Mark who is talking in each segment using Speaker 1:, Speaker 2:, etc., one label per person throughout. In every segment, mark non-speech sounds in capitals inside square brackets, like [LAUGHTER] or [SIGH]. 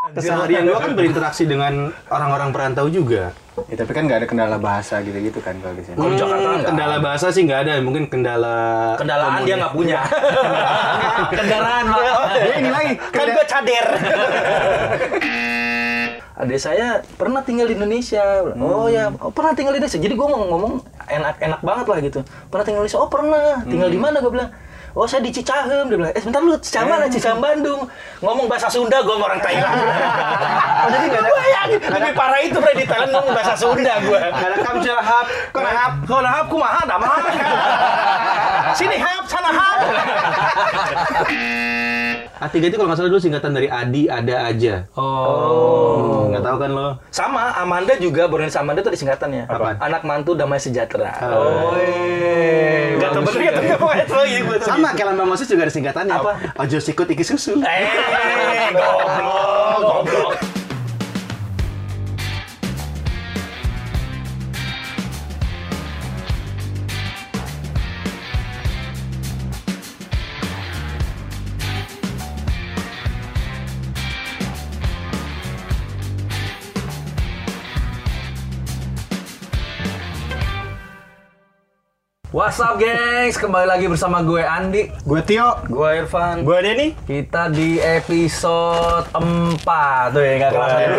Speaker 1: keseharian gua kan berinteraksi dengan orang-orang perantau juga.
Speaker 2: Ya, tapi kan nggak ada kendala bahasa gitu-gitu kan kalau di sini.
Speaker 1: Kalau
Speaker 3: di Jakarta
Speaker 1: Jakarta
Speaker 3: nggak
Speaker 1: kendala bahasa sih nggak ada, mungkin kendala
Speaker 3: Kendaraan dia nggak punya. Iya. [LAUGHS] Kendaraan Pak.
Speaker 2: Ya, ini lagi.
Speaker 3: Kan gua cader. [LAUGHS] Adik saya pernah tinggal di Indonesia. Oh ya, oh, pernah tinggal di Indonesia. Jadi gua ngomong, ngomong enak-enak banget lah gitu. Pernah tinggal di Indonesia. Oh pernah. Tinggal di mana? Gua bilang. Oh saya di Cicahem dia bilang. Eh sebentar lu Cicahem mana? Cicahem Bandung. Ngomong bahasa Sunda gua sama orang [LAUGHS] Thailand. oh, jadi gak ada. Bayangin, lebih parah itu Freddy Thailand ngomong bahasa Sunda gua.
Speaker 1: Ada kamja hap,
Speaker 3: Kenahap, kenahap, kumaha, dah mah. [LAUGHS] Sini hap, sana hap.
Speaker 1: A3 itu kalau nggak salah dulu singkatan dari Adi ada aja.
Speaker 3: Oh.
Speaker 1: Nggak tahu kan lo?
Speaker 3: Sama Amanda juga Borneo Amanda tuh ada singkatannya.
Speaker 1: Apa?
Speaker 3: Anak mantu damai sejahtera.
Speaker 1: Oh.
Speaker 3: Gak tau
Speaker 1: bagus
Speaker 3: bener gak tau apa itu lagi Iya, gua tuh.
Speaker 1: Sama kayak lambang Moses juga ada singkatannya.
Speaker 3: Apa?
Speaker 1: Ojo sikut iki susu.
Speaker 3: Eh, goblok, goblok.
Speaker 4: What's up, gengs? Kembali lagi bersama gue Andi,
Speaker 2: Gue Tio.
Speaker 3: Gua Irfan.
Speaker 1: Gua ada nih.
Speaker 4: Kita di episode 4 Tuh ya, gak kerasa ya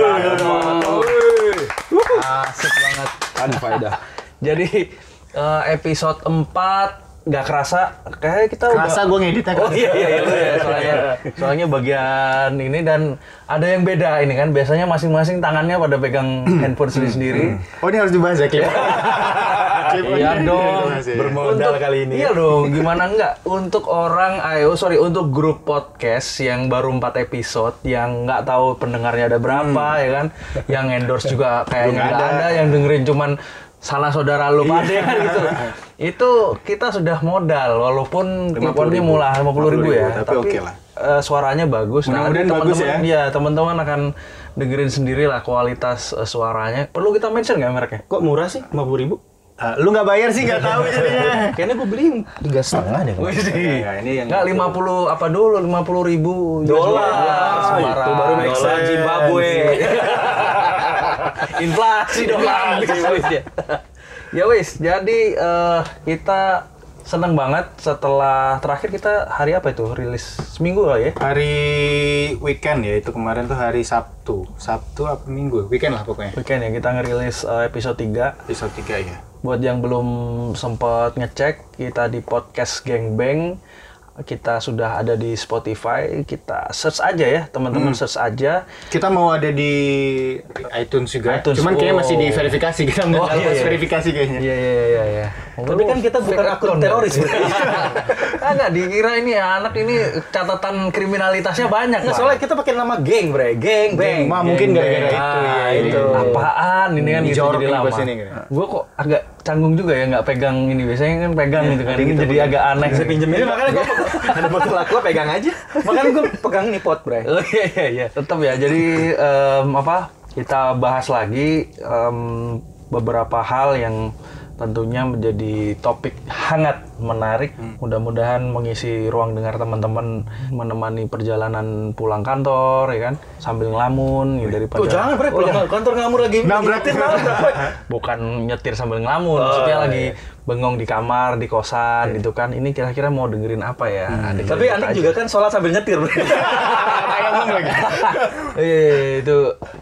Speaker 4: Asik banget
Speaker 1: Anfaedah.
Speaker 4: Jadi eh, episode 4 Gak kerasa Kayak kita
Speaker 2: Kerasa
Speaker 4: udah
Speaker 2: gue ngedit ya.
Speaker 4: Oh iya iya iya bener ya, soalnya, soalnya bagian ini dan ada yang beda ini kan biasanya masing-masing tangannya pada pegang handphone sendiri-sendiri
Speaker 2: Oh ini harus dibahas ya klip. Klip ini
Speaker 4: Iya
Speaker 2: harus
Speaker 4: dong.
Speaker 2: dibahas ya.
Speaker 1: Bermodal kali ini.
Speaker 4: Iya dong, gimana enggak untuk orang ayo sorry untuk grup podcast yang baru 4 episode yang nggak tahu pendengarnya ada berapa ya kan. Yang endorse juga kayaknya nggak ada. yang dengerin cuman salah saudara lu pada [LAUGHS] kan gitu. Itu kita sudah modal walaupun kliponnya mula 50 ribu ya,
Speaker 2: tapi oke lah.
Speaker 4: eh, suaranya bagus.
Speaker 2: Mudah-mudahan
Speaker 4: nanti
Speaker 2: bagus
Speaker 4: teman-teman- Iya, teman-teman akan dengerin sendiri lah kualitas eh, suaranya. Perlu kita mention nggak mereknya?
Speaker 1: Kok murah sih? 50 ribu?
Speaker 2: Ah, lu nggak bayar sih nggak tahu jadinya.
Speaker 1: Kayaknya gua beli yang tiga setengah deh.
Speaker 4: Wih, iya,
Speaker 2: Nah, ini yang
Speaker 4: Enggak, 50 apa dulu? 50 ribu
Speaker 3: Dolar.
Speaker 4: Semarang.
Speaker 1: Itu baru make
Speaker 3: Dolar
Speaker 1: sense.
Speaker 3: Zimbabwe.
Speaker 4: [LAUGHS] Inflasi dolar. Iya, ya wis, jadi eh, kita seneng banget setelah terakhir kita hari apa itu rilis seminggu lah ya
Speaker 2: Hari weekend ya itu kemarin tuh hari Sabtu. Sabtu apa Minggu? Weekend lah pokoknya.
Speaker 4: weekend ya kita ngerilis eh, episode 3
Speaker 2: Episode 3 ya.
Speaker 4: buat yang belum sempat ngecek kita di podcast Gang Bang kita sudah ada di Spotify kita search aja ya teman-teman search aja
Speaker 2: Kita mau ada di iTunes Oh. juga.
Speaker 4: iTunes,
Speaker 2: Cuman kayaknya
Speaker 4: wow.
Speaker 2: masih diverifikasi kita nggak
Speaker 4: Oh,
Speaker 2: lolos
Speaker 4: iya, iya.
Speaker 2: verifikasi kayaknya.
Speaker 4: Iya iya iya iya.
Speaker 3: Tapi kan kita bukan akun teroris.
Speaker 4: [LAUGHS] Ah nggak dikira ini anak ini catatan kriminalitasnya banyak.
Speaker 3: Nah,
Speaker 4: Pak.
Speaker 3: soalnya kita pakai nama geng, bre. Geng, bang.
Speaker 2: Ma, mungkin gara-gara
Speaker 4: Ah,
Speaker 2: itu ya.
Speaker 4: itu. Apaan ini kan gitu
Speaker 2: Dijorok
Speaker 4: jadi
Speaker 2: nih
Speaker 4: lama.
Speaker 2: pas ini, kira.
Speaker 4: Gue kok agak canggung juga ya nggak pegang ini biasanya kan pegang
Speaker 2: Iya,
Speaker 4: gitu kan. Ini jadi agak aneh. Bisa
Speaker 3: Jadi Iya, makanya gua
Speaker 1: [LAUGHS]
Speaker 3: ada botol aqua pegang aja. Makanya gua pegang nih pot, bre.
Speaker 4: Oh iya iya iya. Tetap ya. Jadi em, apa? Kita bahas lagi em, beberapa hal yang tentunya menjadi topik hangat menarik. Mudah-mudahan mengisi ruang dengar teman-teman menemani perjalanan pulang kantor ya kan sambil ngelamun ya, daripada
Speaker 1: Oh,
Speaker 3: Tuh jangan, bre. Pulang kantor ngamur lagi.
Speaker 2: Nah, berarti-
Speaker 4: [LAUGHS] bukan nyetir
Speaker 3: Oh,
Speaker 4: sambil ngelamun,
Speaker 3: iya,
Speaker 4: maksudnya lagi bengong di kamar, di kosan gitu kan. Ini kira-kira mau dengerin apa ya? Adik-adik
Speaker 3: Hmm. Tapi Andik
Speaker 4: aja.
Speaker 3: juga kan sholat sambil nyetir,
Speaker 4: [LAUGHS]
Speaker 3: bre. [LAUGHS]
Speaker 4: Iya, iya, iya, itu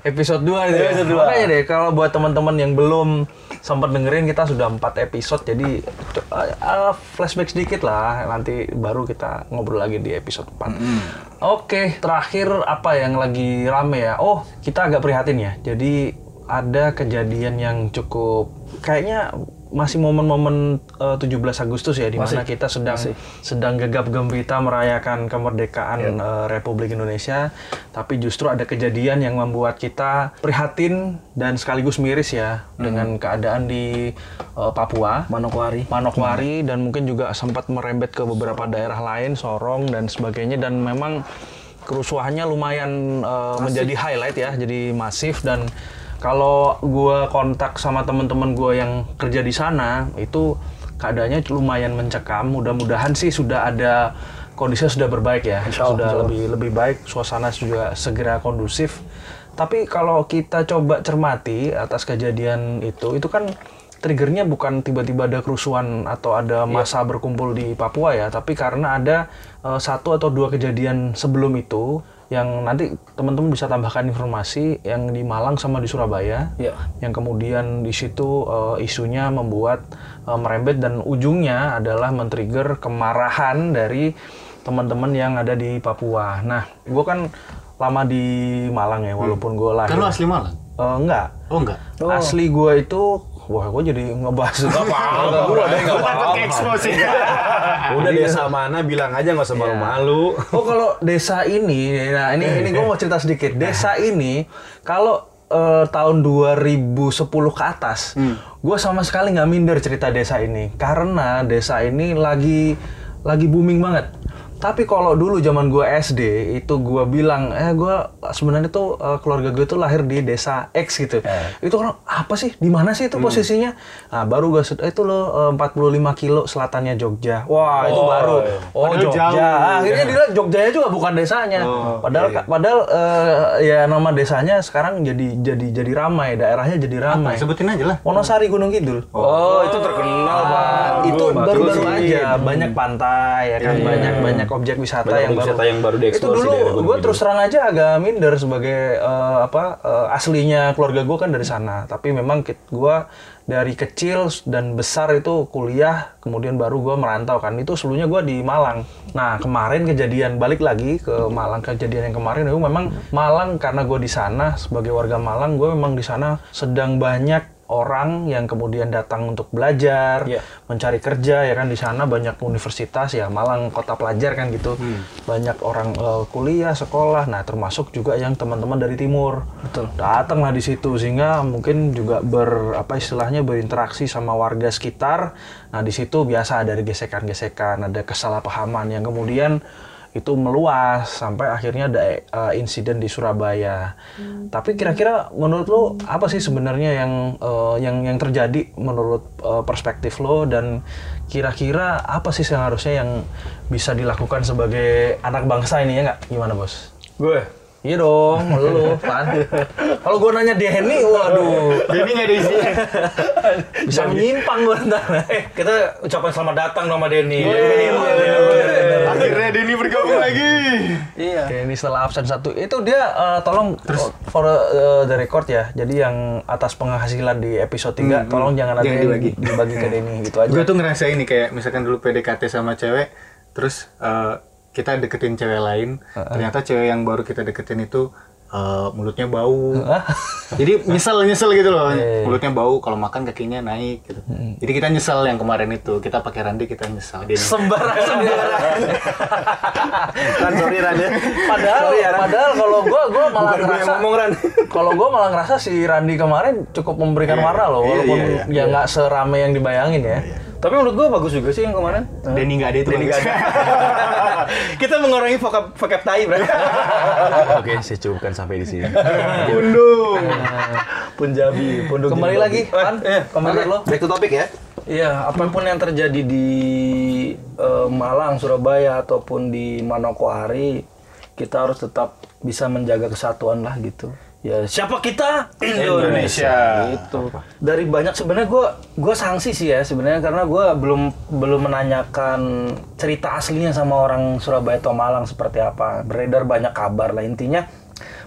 Speaker 4: episode 2 nih.
Speaker 3: Episode dua.
Speaker 4: Makanya deh kalau buat teman-teman yang belum sempat dengerin kita sudah 4 episode jadi co- eh, eh, flashback sedikit lah nanti baru kita ngobrol lagi di episode 4. Oke, terakhir apa yang lagi rame ya? Oh, kita agak prihatin ya. Jadi ada kejadian yang cukup kayaknya masih momen-momen eh, 17 Agustus ya di mana kita sedang sedang gegap gempita merayakan kemerdekaan eh, Republik Indonesia tapi justru ada kejadian yang membuat kita prihatin dan sekaligus miris ya dengan keadaan di eh, Papua
Speaker 3: Manokwari.
Speaker 4: Manokwari dan mungkin juga sempat merembet ke beberapa daerah lain Sorong dan sebagainya dan memang kerusuhannya lumayan eh, menjadi highlight ya jadi masif dan kalau gua kontak sama teman-teman gua yang kerja di sana itu keadaannya lumayan mencekam mudah-mudahan sih sudah ada kondisinya sudah berbaik ya,
Speaker 5: Insya Allah,
Speaker 4: sudah
Speaker 5: insya Allah.
Speaker 4: lebih lebih baik, suasana juga segera kondusif. Tapi kalau kita coba cermati atas kejadian itu, itu kan triggernya bukan tiba-tiba ada kerusuhan atau ada massa berkumpul di Papua ya, tapi karena ada eh, satu atau dua kejadian sebelum itu yang nanti teman-teman bisa tambahkan informasi yang di Malang sama di Surabaya
Speaker 5: Iya.
Speaker 4: yang kemudian di situ eh, isunya membuat eh, merembet dan ujungnya adalah men-trigger kemarahan dari teman-teman yang ada di Papua. Nah, gue kan lama di Malang ya, walaupun gue lahir.
Speaker 2: Kan lu asli Malang?
Speaker 4: Eh, enggak.
Speaker 2: Oh enggak?
Speaker 5: Oh.
Speaker 4: Asli gue itu, wah gue jadi ngebahas [LAUGHS] Nggak apa-apa. Gua ada- nggak
Speaker 2: Takut
Speaker 4: apa-apa.
Speaker 2: ke-expose ya.
Speaker 1: [LAUGHS] Udah
Speaker 3: Iya.
Speaker 1: desa mana bilang aja nggak usah malu-malu.
Speaker 4: [LAUGHS] Oh kalau desa ini, nah ini ini gue mau cerita sedikit. Desa ini kalau eh, tahun 2010 ke atas,
Speaker 2: Hmm.
Speaker 4: gue sama sekali nggak minder cerita desa ini karena desa ini lagi lagi booming banget. Tapi kalau dulu zaman gue SD itu gue bilang, eh gue sebenarnya tuh eh, keluarga gue tuh lahir di desa X gitu.
Speaker 2: Eh.
Speaker 4: Itu orang apa sih? Di mana sih
Speaker 2: Hmm.
Speaker 4: itu posisinya? Nah, baru gue itu loh eh, 45 kilo selatannya Jogja. Wah itu baru. Oh
Speaker 2: Padahal
Speaker 4: Jogja.
Speaker 2: jauh.
Speaker 4: Ah, akhirnya dia bilang Jogjanya juga bukan desanya. padahal padahal eh, ya nama desanya sekarang jadi jadi jadi ramai, daerahnya jadi ramai.
Speaker 2: Sebutin aja lah.
Speaker 4: Wonosari Gunung Kidul.
Speaker 1: Oh, itu terkenal
Speaker 4: Ah, itu
Speaker 1: bagus
Speaker 4: baru-baru
Speaker 1: sih. Iya.
Speaker 4: aja banyak pantai ya kan banyak banyak objek wisata
Speaker 1: Banyak
Speaker 4: yang
Speaker 1: objek
Speaker 4: baru.
Speaker 1: wisata yang baru
Speaker 4: itu
Speaker 1: dieksplor sih
Speaker 4: dulu
Speaker 1: di daerah Gunung
Speaker 4: gue
Speaker 1: Kidul.
Speaker 4: terus terang aja agak minder sebagai eh, apa eh, aslinya keluarga gue kan dari sana tapi memang gue dari kecil dan besar itu kuliah kemudian baru gue merantau kan itu sebelumnya gue di Malang nah kemarin kejadian balik lagi ke Malang kejadian yang kemarin itu memang Malang karena gue di sana sebagai warga Malang gue memang di sana sedang banyak orang yang kemudian datang untuk belajar,
Speaker 5: Iya.
Speaker 4: mencari kerja ya kan di sana banyak universitas ya Malang kota pelajar kan gitu banyak orang eh, kuliah sekolah nah termasuk juga yang teman-teman dari timur betul datanglah di situ sehingga mungkin juga ber apa istilahnya berinteraksi sama warga sekitar nah di situ biasa ada gesekan-gesekan ada kesalahpahaman yang kemudian itu meluas sampai akhirnya ada eh, insiden di Surabaya. Tapi kira-kira menurut lo apa sih sebenarnya yang eh, yang yang terjadi menurut eh, perspektif lo dan kira-kira apa sih yang harusnya yang bisa dilakukan sebagai anak bangsa ini ya nggak? Gimana bos?
Speaker 1: Gue.
Speaker 4: Iya dong, lo kan. Kalau gue nanya Denny, waduh,
Speaker 2: Jadi nggak ada
Speaker 3: [LAUGHS]
Speaker 2: isinya.
Speaker 4: bisa Eh, menyimpang gue ntar. Iya,
Speaker 5: Kita ucapkan selamat datang sama Denny.
Speaker 2: Iya, Akhirnya Denny bergabung lagi.
Speaker 5: Iya.
Speaker 4: Oke, ini setelah absen satu itu dia eh, tolong terus for eh, the record ya. Jadi yang atas penghasilan di episode 3 tolong jangan ada
Speaker 2: Jangan
Speaker 4: yang
Speaker 2: dibagi.
Speaker 4: dibagi ke Denny gitu aja.
Speaker 2: [LAUGHS] Gue tuh ngerasa ini kayak misalkan dulu PDKT sama cewek, terus eh, kita deketin cewek lain, ternyata cewek yang baru kita deketin itu eh, mulutnya bau. Jadi nyesel nyesel gitu loh. Mulutnya bau, kalau makan kakinya naik gitu. Jadi kita nyesel yang kemarin itu, kita pakai randi kita nyesel. Denny.
Speaker 4: sembarang sembarang.
Speaker 1: Kan sorry Ran ya.
Speaker 4: padahal padahal kalau gua gua
Speaker 1: Bukan
Speaker 4: malah
Speaker 1: gue yang
Speaker 4: ngerasa
Speaker 1: ngomong Ran.
Speaker 4: [LAUGHS] kalau gua malah ngerasa si Randi kemarin cukup memberikan warna loh
Speaker 2: Iya,
Speaker 4: walaupun
Speaker 2: iya,
Speaker 4: ya nggak serame yang dibayangin ya.
Speaker 5: Tapi menurut gua bagus juga sih yang kemarin.
Speaker 2: Denny nggak ada itu.
Speaker 1: Denny
Speaker 2: [LAUGHS]
Speaker 1: nggak
Speaker 5: [LAUGHS] Kita mengurangi vocab vocab tai, Bro.
Speaker 1: [LAUGHS] Oke, saya cukupkan sampai di sini.
Speaker 2: Undung.
Speaker 1: Punjabi, punduk.
Speaker 4: Kembali lagi kan
Speaker 3: Iya,
Speaker 5: Eh,
Speaker 4: komentar
Speaker 5: oke.
Speaker 4: lo.
Speaker 1: Back to topic ya.
Speaker 5: Iya, apapun yang terjadi di eh, Malang, Surabaya ataupun di Manokwari, kita harus tetap bisa menjaga kesatuan lah gitu. Ya, siapa kita?
Speaker 2: Indonesia.
Speaker 5: Gitu. Dari banyak sebenarnya gua gua sanksi sih ya sebenarnya karena gua belum belum menanyakan cerita aslinya sama orang Surabaya atau Malang seperti apa. Beredar banyak kabar lah intinya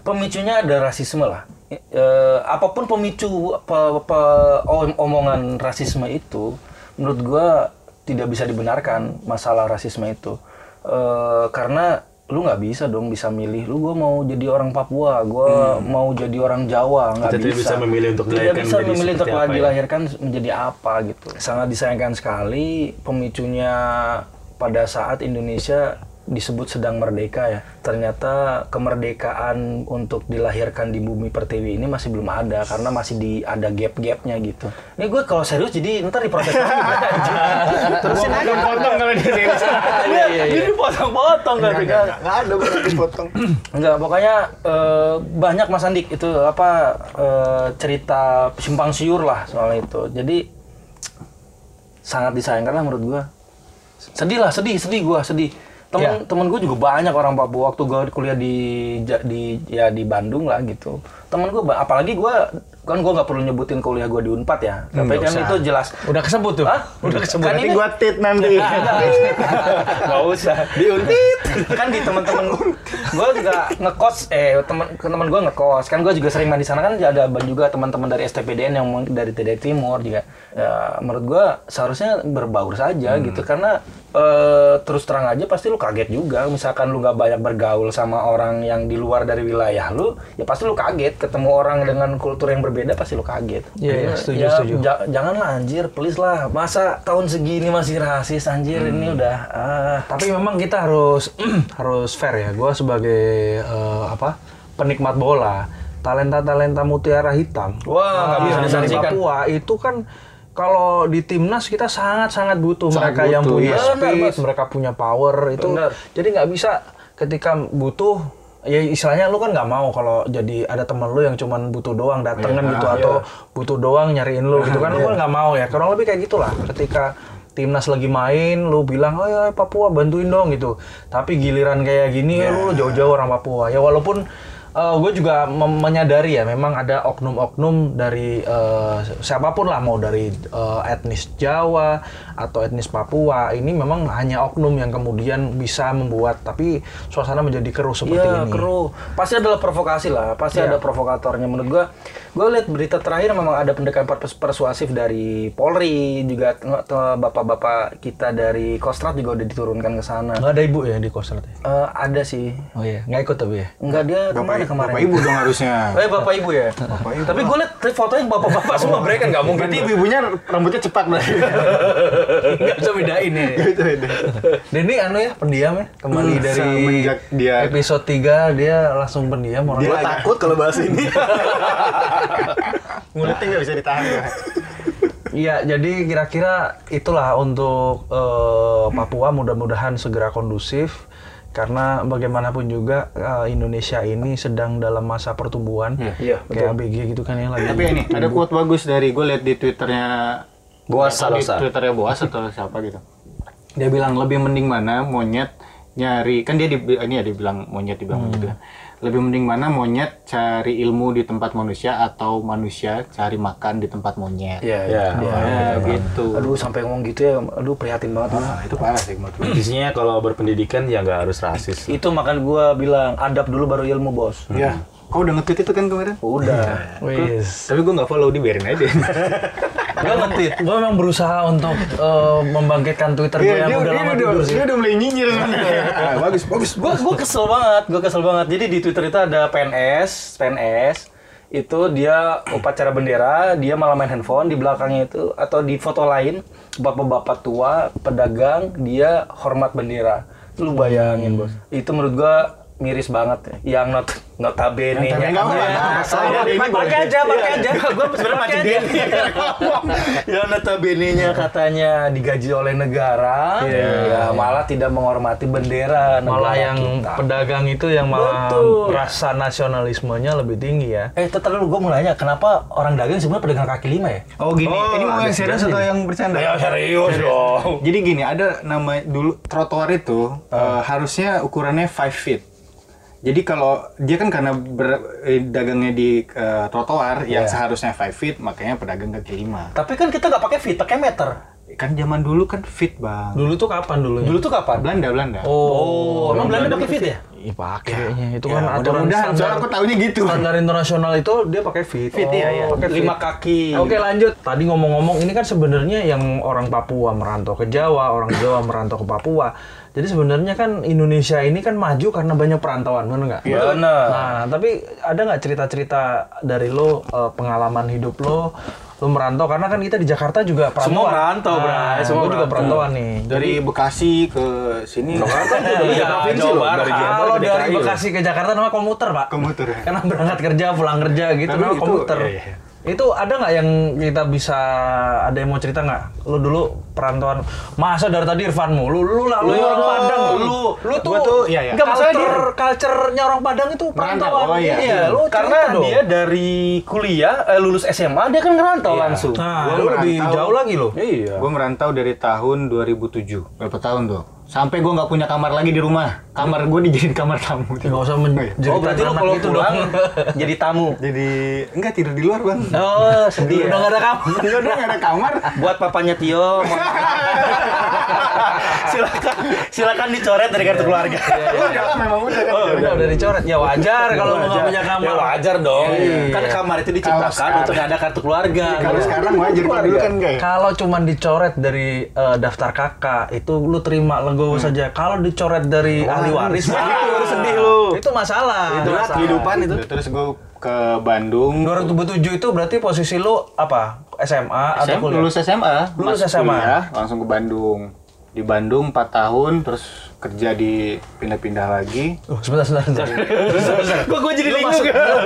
Speaker 5: pemicunya ada rasisme lah. Eh, eh, apapun pemicu pe- pe- om- omongan rasisme itu menurut gua tidak bisa dibenarkan masalah rasisme itu. Eh, karena lu nggak bisa dong bisa milih lu gue mau jadi orang Papua gue mau jadi orang Jawa nggak
Speaker 1: Kita tidak bisa memilih untuk
Speaker 5: tidak bisa
Speaker 1: dilahirkan menjadi
Speaker 5: memilih untuk
Speaker 1: seperti apa ya.
Speaker 5: dilahirkan menjadi apa gitu sangat disayangkan sekali pemicunya pada saat Indonesia disebut sedang merdeka ya ternyata kemerdekaan untuk dilahirkan di bumi pertiwi ini masih belum ada karena masih di ada gap-gapnya gitu ini gue kalau serius jadi ntar diproses lagi [LAUGHS]
Speaker 2: Terusin aja. Potong kalau di Indonesia.
Speaker 5: Iya, jadi potong-potong kan
Speaker 2: Nggak ada berarti
Speaker 4: [CLEARS THROAT]
Speaker 2: potong.
Speaker 5: Enggak, pokoknya eh, banyak Mas Andik itu apa eh, cerita simpang siur lah soal itu. Jadi sangat disayangkan lah menurut gua. Sedih lah, sedih, sedih gua, sedih.
Speaker 4: temen
Speaker 6: Iya.
Speaker 4: temen gue juga banyak orang Papua waktu gue kuliah di Ja- di ya di Bandung lah gitu temen gue ba- apalagi gue kan gue nggak perlu nyebutin kuliah gue di Unpad ya tapi kan itu jelas
Speaker 6: Hmm, Udah kesebut tuh.
Speaker 4: Hah?
Speaker 6: Udah kesebut.
Speaker 4: Kan
Speaker 2: Nanti
Speaker 4: ini-
Speaker 2: gua tit nanti.
Speaker 4: nggak usah di kan di teman-teman gue juga ngekos eh teman teman gue ngekos kan gue juga sering main di sana kan ada ban- juga teman-teman dari STPDN yang meng- dari TD Timur juga Ya, menurut gue seharusnya berbaur saja gitu karena eh, terus terang aja pasti lu kaget juga misalkan lu nggak banyak bergaul sama orang yang di luar dari wilayah lu ya pasti lu kaget ketemu orang dengan kultur yang berbeda pasti lu kaget
Speaker 6: Iya, iya,
Speaker 4: Karena
Speaker 6: setuju,
Speaker 4: ya,
Speaker 6: setuju.
Speaker 4: Ja- janganlah anjir, please lah. Masa tahun segini masih rasis anjir ini
Speaker 6: Hmm.
Speaker 4: udah ah.
Speaker 6: Tapi memang kita harus [CLEARS THROAT] harus fair ya. Gua sebagai eh, apa penikmat bola, talenta talenta mutiara hitam.
Speaker 4: Wah, nggak
Speaker 6: Ah,
Speaker 4: bisa
Speaker 6: dari
Speaker 4: disaksikan.
Speaker 6: Papua itu kan kalau di timnas kita sangat sangat butuh
Speaker 2: Sangat
Speaker 6: mereka yang
Speaker 2: butuh,
Speaker 6: punya
Speaker 4: iya. Benar,
Speaker 6: speed,
Speaker 4: Mas.
Speaker 6: mereka punya power itu.
Speaker 4: Benar.
Speaker 6: Jadi nggak bisa ketika butuh ya istilahnya lu kan nggak mau kalau jadi ada temen lu yang cuman butuh doang
Speaker 2: Iya.
Speaker 6: datengin gitu
Speaker 2: Ah,
Speaker 6: atau butuh doang nyariin lu gitu kan lu kan nggak mau ya kurang lebih kayak gitulah ketika timnas lagi main lu bilang oh ya Papua bantuin dong gitu tapi giliran kayak gini ya, lu
Speaker 2: Iya.
Speaker 6: jauh-jauh orang Papua ya walaupun gue juga mem- menyadari ya memang ada oknum-oknum dari eh, siapapun lah mau dari eh, etnis Jawa atau etnis Papua ini memang hanya oknum yang kemudian bisa membuat tapi suasana menjadi keruh
Speaker 4: Iya,
Speaker 6: seperti ini. Iya.
Speaker 4: keruh. Pasti adalah provokasi lah. Pasti ada provokatornya menurut gua. Gua lihat berita terakhir memang ada pendekatan pers- persuasif dari Polri juga teng- teng- bapak-bapak kita dari Kostrad juga udah diturunkan ke sana.
Speaker 6: Nggak ada ibu ya di konser ya?
Speaker 4: Eh, ada sih.
Speaker 6: Oh iya, nggak ikut tapi ya.
Speaker 4: Enggak dia kemana
Speaker 2: Bapak,
Speaker 4: kemarin?
Speaker 2: bapak ibu dong harusnya.
Speaker 4: [LAUGHS] Eh, bapak ibu ya. Tapi gue liat fotonya bapak-bapak semua mereka kan nggak mungkin
Speaker 2: Berarti ibu-ibunya rambutnya cepat berarti.
Speaker 6: Iya,
Speaker 2: [LAUGHS]
Speaker 6: Nggak bisa bedain ya.
Speaker 2: Itu itu.
Speaker 6: Dan ini anu ya, pendiam ya. Kembali
Speaker 2: Hmm,
Speaker 6: dari
Speaker 2: semenjak dia-
Speaker 6: episode 3 dia langsung pendiam orang.
Speaker 1: Gue
Speaker 2: Dia-
Speaker 1: takut kalau bahas
Speaker 6: [LAUGHS]
Speaker 1: ini.
Speaker 2: Mulutnya nggak bisa ditahan. ya.
Speaker 6: Iya, jadi kira-kira itulah untuk eh, Papua mudah-mudahan segera kondusif karena bagaimanapun juga eh, Indonesia ini sedang dalam masa pertumbuhan.
Speaker 4: iya,
Speaker 6: kayak ABG gitu kan ya lagi.
Speaker 2: Tapi ini ada quote bagus dari gue lihat di twitternya
Speaker 4: Boas
Speaker 2: atau di
Speaker 4: Salosa.
Speaker 2: twitternya Boas atau siapa gitu. Dia bilang lebih mending mana monyet nyari kan dia di ini ya dibilang monyet dibilang monyet kan. Lebih mending mana monyet cari ilmu di tempat manusia atau manusia cari makan di tempat monyet.
Speaker 4: Iya, iya.
Speaker 2: Ya, gitu.
Speaker 4: Aduh sampai ngomong gitu ya, aduh prihatin banget. gua.
Speaker 6: Ah.
Speaker 2: Nah, itu parah sih menurut gue.
Speaker 1: Isinya kalau berpendidikan ya nggak harus rasis.
Speaker 4: Itu makan gua bilang adab dulu baru ilmu bos.
Speaker 2: Ya, kau udah nge-tweet itu kan kemarin?
Speaker 4: Udah.
Speaker 6: Wis.
Speaker 1: Tapi gue nggak follow, di biarin aja.
Speaker 6: Gue ngetit. Gue memang berusaha untuk eh, membangkitkan Twitter
Speaker 2: Iya,
Speaker 6: gue yang udah lama tidur sih.
Speaker 2: udah mulai nyinyir. Ah, bagus, bagus.
Speaker 4: Gua gua kesel banget, gua kesel banget. Jadi di Twitter itu ada PNS, PNS itu dia upacara bendera, dia malah main handphone di belakangnya itu atau di foto lain bapak-bapak tua pedagang dia hormat bendera. Lu bayangin bos.
Speaker 2: Hmm.
Speaker 4: Itu menurut gua miris banget ya. yang not Nah, notabene
Speaker 2: Notabene nggak apa-apa. Saya ini Iya.
Speaker 4: pakai
Speaker 2: boleh.
Speaker 4: aja pakai aja gue sebenarnya pakai aja yang Ya, notabene-nya katanya digaji oleh negara ya malah tidak menghormati bendera
Speaker 6: Iya. Malah
Speaker 4: negara
Speaker 6: yang
Speaker 4: kita.
Speaker 6: pedagang itu yang malah
Speaker 4: Betul.
Speaker 6: rasa nasionalismenya lebih tinggi ya.
Speaker 4: eh tetap dulu gue mau nanya kenapa orang dagang sebenarnya pedagang kaki lima ya
Speaker 2: Oh gini, ini mau yang
Speaker 6: ada
Speaker 2: serius
Speaker 6: sekian
Speaker 2: atau
Speaker 6: ini.
Speaker 2: yang bercanda?
Speaker 4: serius dong
Speaker 2: Jadi gini, ada nama dulu trotoar itu eh,
Speaker 6: Hmm.
Speaker 2: harusnya ukurannya 5 feet. Jadi kalau dia kan karena ber- eh, dagangnya di eh, trotoar yang
Speaker 6: Iya.
Speaker 2: seharusnya 5 feet, makanya pedagang kaki lima.
Speaker 4: tapi kan kita nggak pakai feet pakai meter
Speaker 2: Kan zaman dulu kan feet bang.
Speaker 6: Dulu ya? tuh kapan dulunya?
Speaker 4: dulu tuh kapan
Speaker 2: Belanda Belanda.
Speaker 4: oh emang Belanda pakai feet ya
Speaker 6: Iya pakai kayaknya. Itu
Speaker 2: Ya,
Speaker 6: kan aturan
Speaker 2: mudah-mudahan. Soalnya
Speaker 6: standar.
Speaker 2: aku taunya gitu.
Speaker 6: Standar internasional itu dia pakai fit. Oh,
Speaker 2: Fit, iya, iya.
Speaker 6: Pakai fit.
Speaker 4: lima kaki
Speaker 6: Oke lanjut. Tadi ngomong-ngomong ini kan sebenarnya yang orang Papua merantau ke Jawa, orang Jawa merantau ke Papua. Jadi sebenarnya kan Indonesia ini kan maju karena banyak perantauan, benar nggak?
Speaker 4: Bener.
Speaker 6: Nah, tapi ada nggak cerita-cerita dari lo eh, pengalaman hidup lo lo merantau karena kan kita di Jakarta juga perantauan.
Speaker 4: Semua merantau,
Speaker 6: Nah,
Speaker 4: Bray. Semua
Speaker 6: gua juga
Speaker 4: merantau.
Speaker 6: perantauan nih.
Speaker 2: Dari Bekasi ke sini.
Speaker 4: Iya, Jawa Barat.
Speaker 6: Kalau dari Bekasi ke Jakarta namanya komuter, Pak.
Speaker 2: Komuter.
Speaker 6: Karena berangkat kerja, pulang kerja gitu
Speaker 2: Tapi
Speaker 6: namanya
Speaker 2: itu-
Speaker 6: komuter.
Speaker 2: iya, iya.
Speaker 6: Itu ada nggak yang kita bisa ada yang mau cerita nggak? Lu dulu perantauan masa dari tadi Irfan mulu, lu lah,
Speaker 2: Lu,
Speaker 6: lu, orang
Speaker 2: lu,
Speaker 6: Padang, lu, lu
Speaker 2: gua
Speaker 6: tuh,
Speaker 2: tuh, iya, iya.
Speaker 6: nggak masalah
Speaker 4: Culture-
Speaker 6: dia- culture-nya orang Padang itu perantauan.
Speaker 2: oh, iya.
Speaker 6: lu
Speaker 4: karena
Speaker 6: cerita dong.
Speaker 4: dia dari kuliah eh, lulus SMA dia kan ngerantau langsung
Speaker 6: Nah,
Speaker 2: Gua
Speaker 6: lu lebih
Speaker 2: merantau.
Speaker 6: jauh lagi lo.
Speaker 4: iya
Speaker 2: Gue merantau dari tahun 2007. Berapa tahun tuh? Sampai gue nggak punya kamar lagi di rumah. Kamar gue dijadiin kamar tamu.
Speaker 6: Nggak usah menjadi
Speaker 4: oh berarti lu
Speaker 6: gitu
Speaker 4: kalau pulang [LAUGHS] jadi tamu.
Speaker 2: Jadi enggak tidur di luar bang.
Speaker 4: Oh sedih. ya.
Speaker 6: Udah nggak ada kamu.
Speaker 2: Enggak dong nggak ada kamar.
Speaker 4: Buat papanya Tio. mohon
Speaker 6: [LAUGHS]
Speaker 4: maaf. silakan silakan dicoret dari
Speaker 6: Iya.
Speaker 4: kartu keluarga.
Speaker 2: Udah lah memang udah kan.
Speaker 6: Oh, udah, udah dicoret. Ya wajar kalau lu nggak punya kamar.
Speaker 4: Ya Iya. wajar dong.
Speaker 6: Iya,
Speaker 4: Kan kamar itu diciptakan
Speaker 2: sekarang-
Speaker 4: untuk nggak ada kartu keluarga. Iya.
Speaker 2: Kalau sekarang wajar kalau dulu kan enggak ya.
Speaker 6: Kalau cuman dicoret dari eh, daftar kakak itu lu terima legowo saja. Kalau dicoret dari ahli waris,
Speaker 4: Hmm. Wah,
Speaker 6: wah,
Speaker 4: itu baru sedih lu.
Speaker 6: Itu masalah.
Speaker 4: Itu berat
Speaker 6: Masalah.
Speaker 4: kehidupan itu.
Speaker 2: Terus gue ke Bandung.
Speaker 6: 2007 itu berarti posisi lu apa? SMA,
Speaker 2: SMA,
Speaker 6: atau kuliah?
Speaker 2: lulus SMA,
Speaker 6: Lulus
Speaker 2: masuk
Speaker 6: SMA.
Speaker 2: kuliah, langsung ke Bandung. Di Bandung 4 tahun, terus kerja di pindah-pindah lagi.
Speaker 6: Oh, sebentar, sebentar,
Speaker 4: [LAUGHS]
Speaker 6: sebentar.
Speaker 4: Kok gue jadi
Speaker 6: lu
Speaker 4: bingung?
Speaker 6: masuk, lu,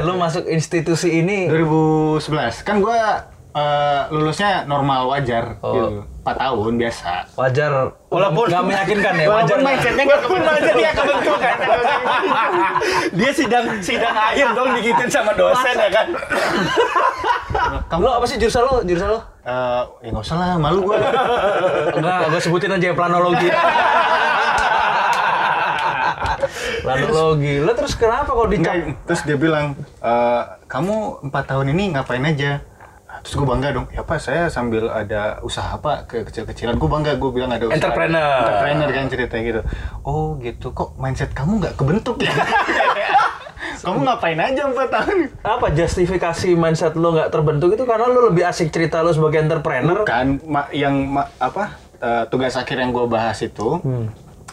Speaker 6: lu masuk institusi ini
Speaker 2: 2011, kan gua eh, lulusnya normal wajar
Speaker 6: Oh.
Speaker 2: gitu. 4 tahun biasa.
Speaker 6: wajar
Speaker 4: Walaupun-
Speaker 6: nggak meyakinkan ya wajar
Speaker 4: Walaupun
Speaker 6: nggak?
Speaker 4: mindsetnya nggak kebentuk. dia kebentuk kan. dia sidang sidang akhir dong dikitin sama dosen ya kan.
Speaker 6: lu apa sih jurusan lu jurusan lu
Speaker 2: Eh, ya nggak usah lah, malu gua.
Speaker 6: enggak gue sebutin aja planologi planologi lu terus kenapa kalau
Speaker 2: Enggak,
Speaker 6: dicap
Speaker 2: terus dia bilang, "Eh, kamu 4 tahun ini ngapain aja? Terus gue bangga dong, ya pak saya sambil ada usaha pak ke kecil-kecilan, gue bangga gue bilang ada usaha.
Speaker 6: Entrepreneur.
Speaker 2: Entrepreneur kan ceritanya gitu. Oh gitu, kok mindset kamu nggak kebentuk [LAUGHS] ya? kamu ngapain aja 4 tahun?
Speaker 6: apa justifikasi mindset lu nggak terbentuk itu karena lu lebih asik cerita lu sebagai entrepreneur
Speaker 2: Kan ma- yang ma- apa eh, tugas akhir yang gue bahas itu,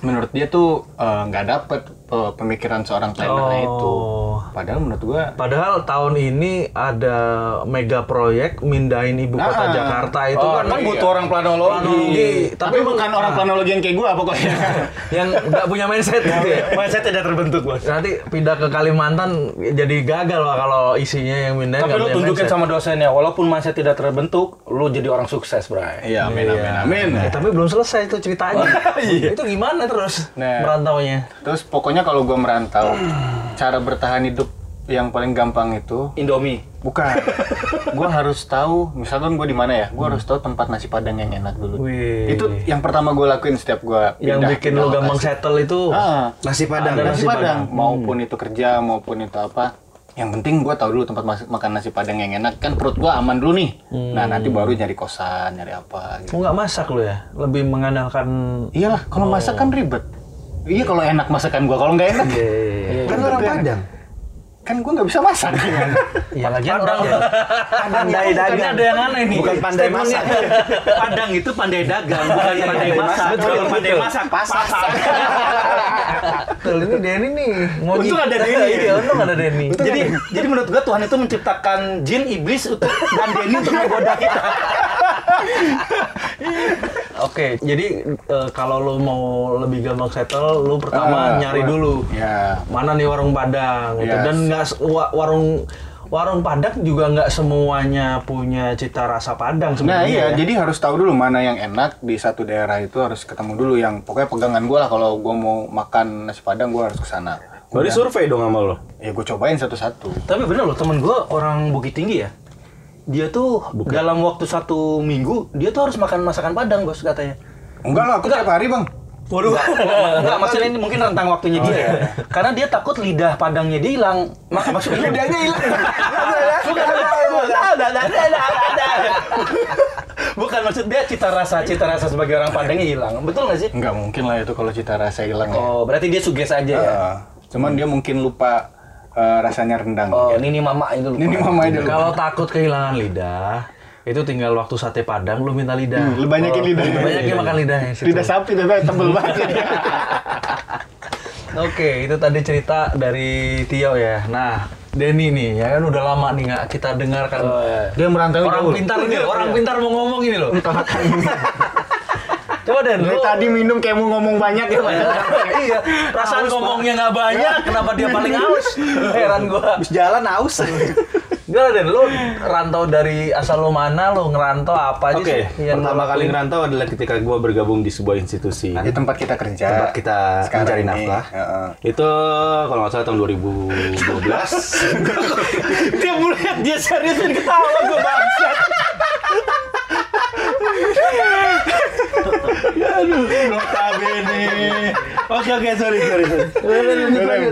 Speaker 2: menurut dia tuh eh, nggak dapet eh, pemikiran seorang planner itu.
Speaker 6: Oh.
Speaker 2: Padahal menurut gue
Speaker 6: Padahal tahun ini ada mega proyek mindahin ibu
Speaker 2: Nah.
Speaker 6: kota Jakarta itu
Speaker 1: Oh,
Speaker 6: kan
Speaker 4: iya.
Speaker 1: kan butuh orang
Speaker 6: planologi.
Speaker 1: planologi.
Speaker 2: tapi,
Speaker 6: lu-
Speaker 2: bukan orang planologi yang kayak gue pokoknya. [LAUGHS]
Speaker 6: yang nggak punya mindset gitu ya.
Speaker 4: Mindset tidak terbentuk bos.
Speaker 6: Nanti pindah ke Kalimantan jadi gagal lah kalau isinya yang mindahin
Speaker 4: Tapi
Speaker 6: nggak
Speaker 4: lu
Speaker 6: punya
Speaker 4: tunjukin
Speaker 6: Iya, mindset.
Speaker 4: sama dosennya, walaupun mindset tidak terbentuk, lu jadi orang sukses, Bray.
Speaker 2: Iya, amin, amin, amin.
Speaker 6: Ya, tapi belum selesai itu ceritanya. Itu gimana terus
Speaker 2: Nah.
Speaker 6: merantaunya?
Speaker 2: Terus pokoknya kalau gue merantau, cara bertahan hidup yang paling gampang itu
Speaker 4: Indomie.
Speaker 2: bukan. [LAUGHS] gue harus tahu, misalkan gue di mana ya, gue harus tahu tempat nasi padang yang enak dulu.
Speaker 6: Hmm. Wih.
Speaker 2: Itu yang pertama gue lakuin setiap gue
Speaker 6: Yang bikin lu gampang settle itu
Speaker 1: Nasi Padang.
Speaker 6: Ada
Speaker 2: Ah, nasi,
Speaker 6: nasi Hmm.
Speaker 2: padang, maupun itu kerja maupun itu apa. Yang penting gue tahu dulu tempat mas- makan nasi padang yang enak kan perut gue aman dulu nih.
Speaker 6: Hmm.
Speaker 2: Nah nanti baru nyari kosan, nyari apa. Gitu.
Speaker 6: lu nggak masak lu ya? Lebih mengandalkan
Speaker 2: Iyalah, kalau masak kan ribet. Iya kalau enak masakan gua, kalau nggak enak
Speaker 6: Iya,
Speaker 1: Kan orang Padang.
Speaker 2: kan gua nggak bisa masak.
Speaker 6: ya lagian orang
Speaker 4: Pandai dagang.
Speaker 6: ada yang aneh nih.
Speaker 4: Iya,
Speaker 1: Bukan pandai masak.
Speaker 4: [LAUGHS] Padang itu pandai dagang, bukan pandai masak.
Speaker 6: Betul,
Speaker 4: Kalau pandai
Speaker 6: betul.
Speaker 4: masak, pasar.
Speaker 6: Betul, ini Denny nih. Ngoji.
Speaker 4: Untung ada Denny.
Speaker 6: [LAUGHS] Iya, untung ada Denny.
Speaker 4: Jadi, jadi menurut gua Tuhan itu menciptakan jin, iblis, untuk dan Denny untuk menggoda kita.
Speaker 6: [LAUGHS] Oke, jadi eh, kalau lu mau lebih gampang settle, lu
Speaker 2: Ah,
Speaker 6: pertama nyari
Speaker 2: gua-
Speaker 6: dulu.
Speaker 2: Ya.
Speaker 6: Mana nih warung Padang gitu.
Speaker 2: Yes.
Speaker 6: Dan nggak se- wa- warung warung Padang juga nggak semuanya punya cita rasa Padang
Speaker 2: Nah
Speaker 6: sebenarnya.
Speaker 2: iya,
Speaker 6: ya.
Speaker 2: jadi harus tahu dulu mana yang enak di satu daerah itu harus ketemu dulu yang pokoknya pegangan gua lah kalau gua mau makan nasi padang gua harus ke sana.
Speaker 1: Baru survei dong sama lo.
Speaker 2: Ya gua cobain satu-satu.
Speaker 4: Tapi bener loh, temen gua orang Bukit Tinggi ya. Dia tuh dalam waktu satu minggu, dia tuh harus makan masakan Padang, bos katanya.
Speaker 2: Enggak lah, aku tiap hari bang.
Speaker 4: Waduh. Enggak, maksudnya ini mungkin rentang waktunya
Speaker 2: Oh,
Speaker 4: dia.
Speaker 2: iya.
Speaker 4: ya. Karena dia takut lidah padangnya dia hilang. Maka
Speaker 2: [LAUGHS]
Speaker 4: maksudnya lidahnya hilang. Bukan, bukan, bukan, bukan, bukan.
Speaker 2: ya?
Speaker 4: Bukan maksud dia cita rasa, cita rasa sebagai orang Padangnya hilang. Betul nggak sih?
Speaker 2: Enggak mungkin lah itu kalau cita rasa hilang ya.
Speaker 4: Oh, berarti dia suges aja ya.
Speaker 2: Eh, cuman dia mungkin lupa eh, rasanya rendang.
Speaker 4: Oh, Nini Mama itu lupa.
Speaker 2: Ini mama aja lupa.
Speaker 6: kalau takut kehilangan lidah, itu tinggal waktu sate Padang lu minta Hmm, lidah.
Speaker 2: Lu banyakin lidahnya.
Speaker 6: Banyakin makan lidahnya situ.
Speaker 2: Lidah sapi tapi tebel banget.
Speaker 6: Oke, itu tadi cerita dari Tio ya. Nah, Denny nih, ya kan udah lama nih nggak kita dengarkan.
Speaker 2: dia merantau
Speaker 6: orang
Speaker 2: jauh.
Speaker 6: pintar ini, loh, orang pintar mau ngomong ini loh. Coba Den, [LAUGHS]
Speaker 2: Dari
Speaker 6: lu
Speaker 2: tadi minum kayak mau ngomong banyak ya.
Speaker 6: iya, perasaan ngomongnya nggak banyak, [LAUGHS] kenapa dia paling [LAUGHS] haus? Heran gua.
Speaker 1: Habis jalan aus.
Speaker 6: Gimana Den, lu rantau dari asal lu mana, lu ngerantau apa aja
Speaker 1: Oke,
Speaker 2: iya,
Speaker 6: sih? Iya, yang
Speaker 1: pertama
Speaker 6: lu
Speaker 1: kali
Speaker 6: lakuin?
Speaker 1: ngerantau adalah ketika gua bergabung di sebuah institusi.
Speaker 2: Di tempat kita kerja.
Speaker 1: tempat kita
Speaker 2: ya, Sekarang
Speaker 1: mencari
Speaker 2: ini.
Speaker 1: nafkah.
Speaker 2: Heeh.
Speaker 1: Itu kalau nggak salah tahun
Speaker 2: [LAUGHS]
Speaker 1: 2012.
Speaker 4: Dia mulai dia serius dan ketawa gue bangsat.
Speaker 1: Notabene. Oke oke sorry sorry. sorry.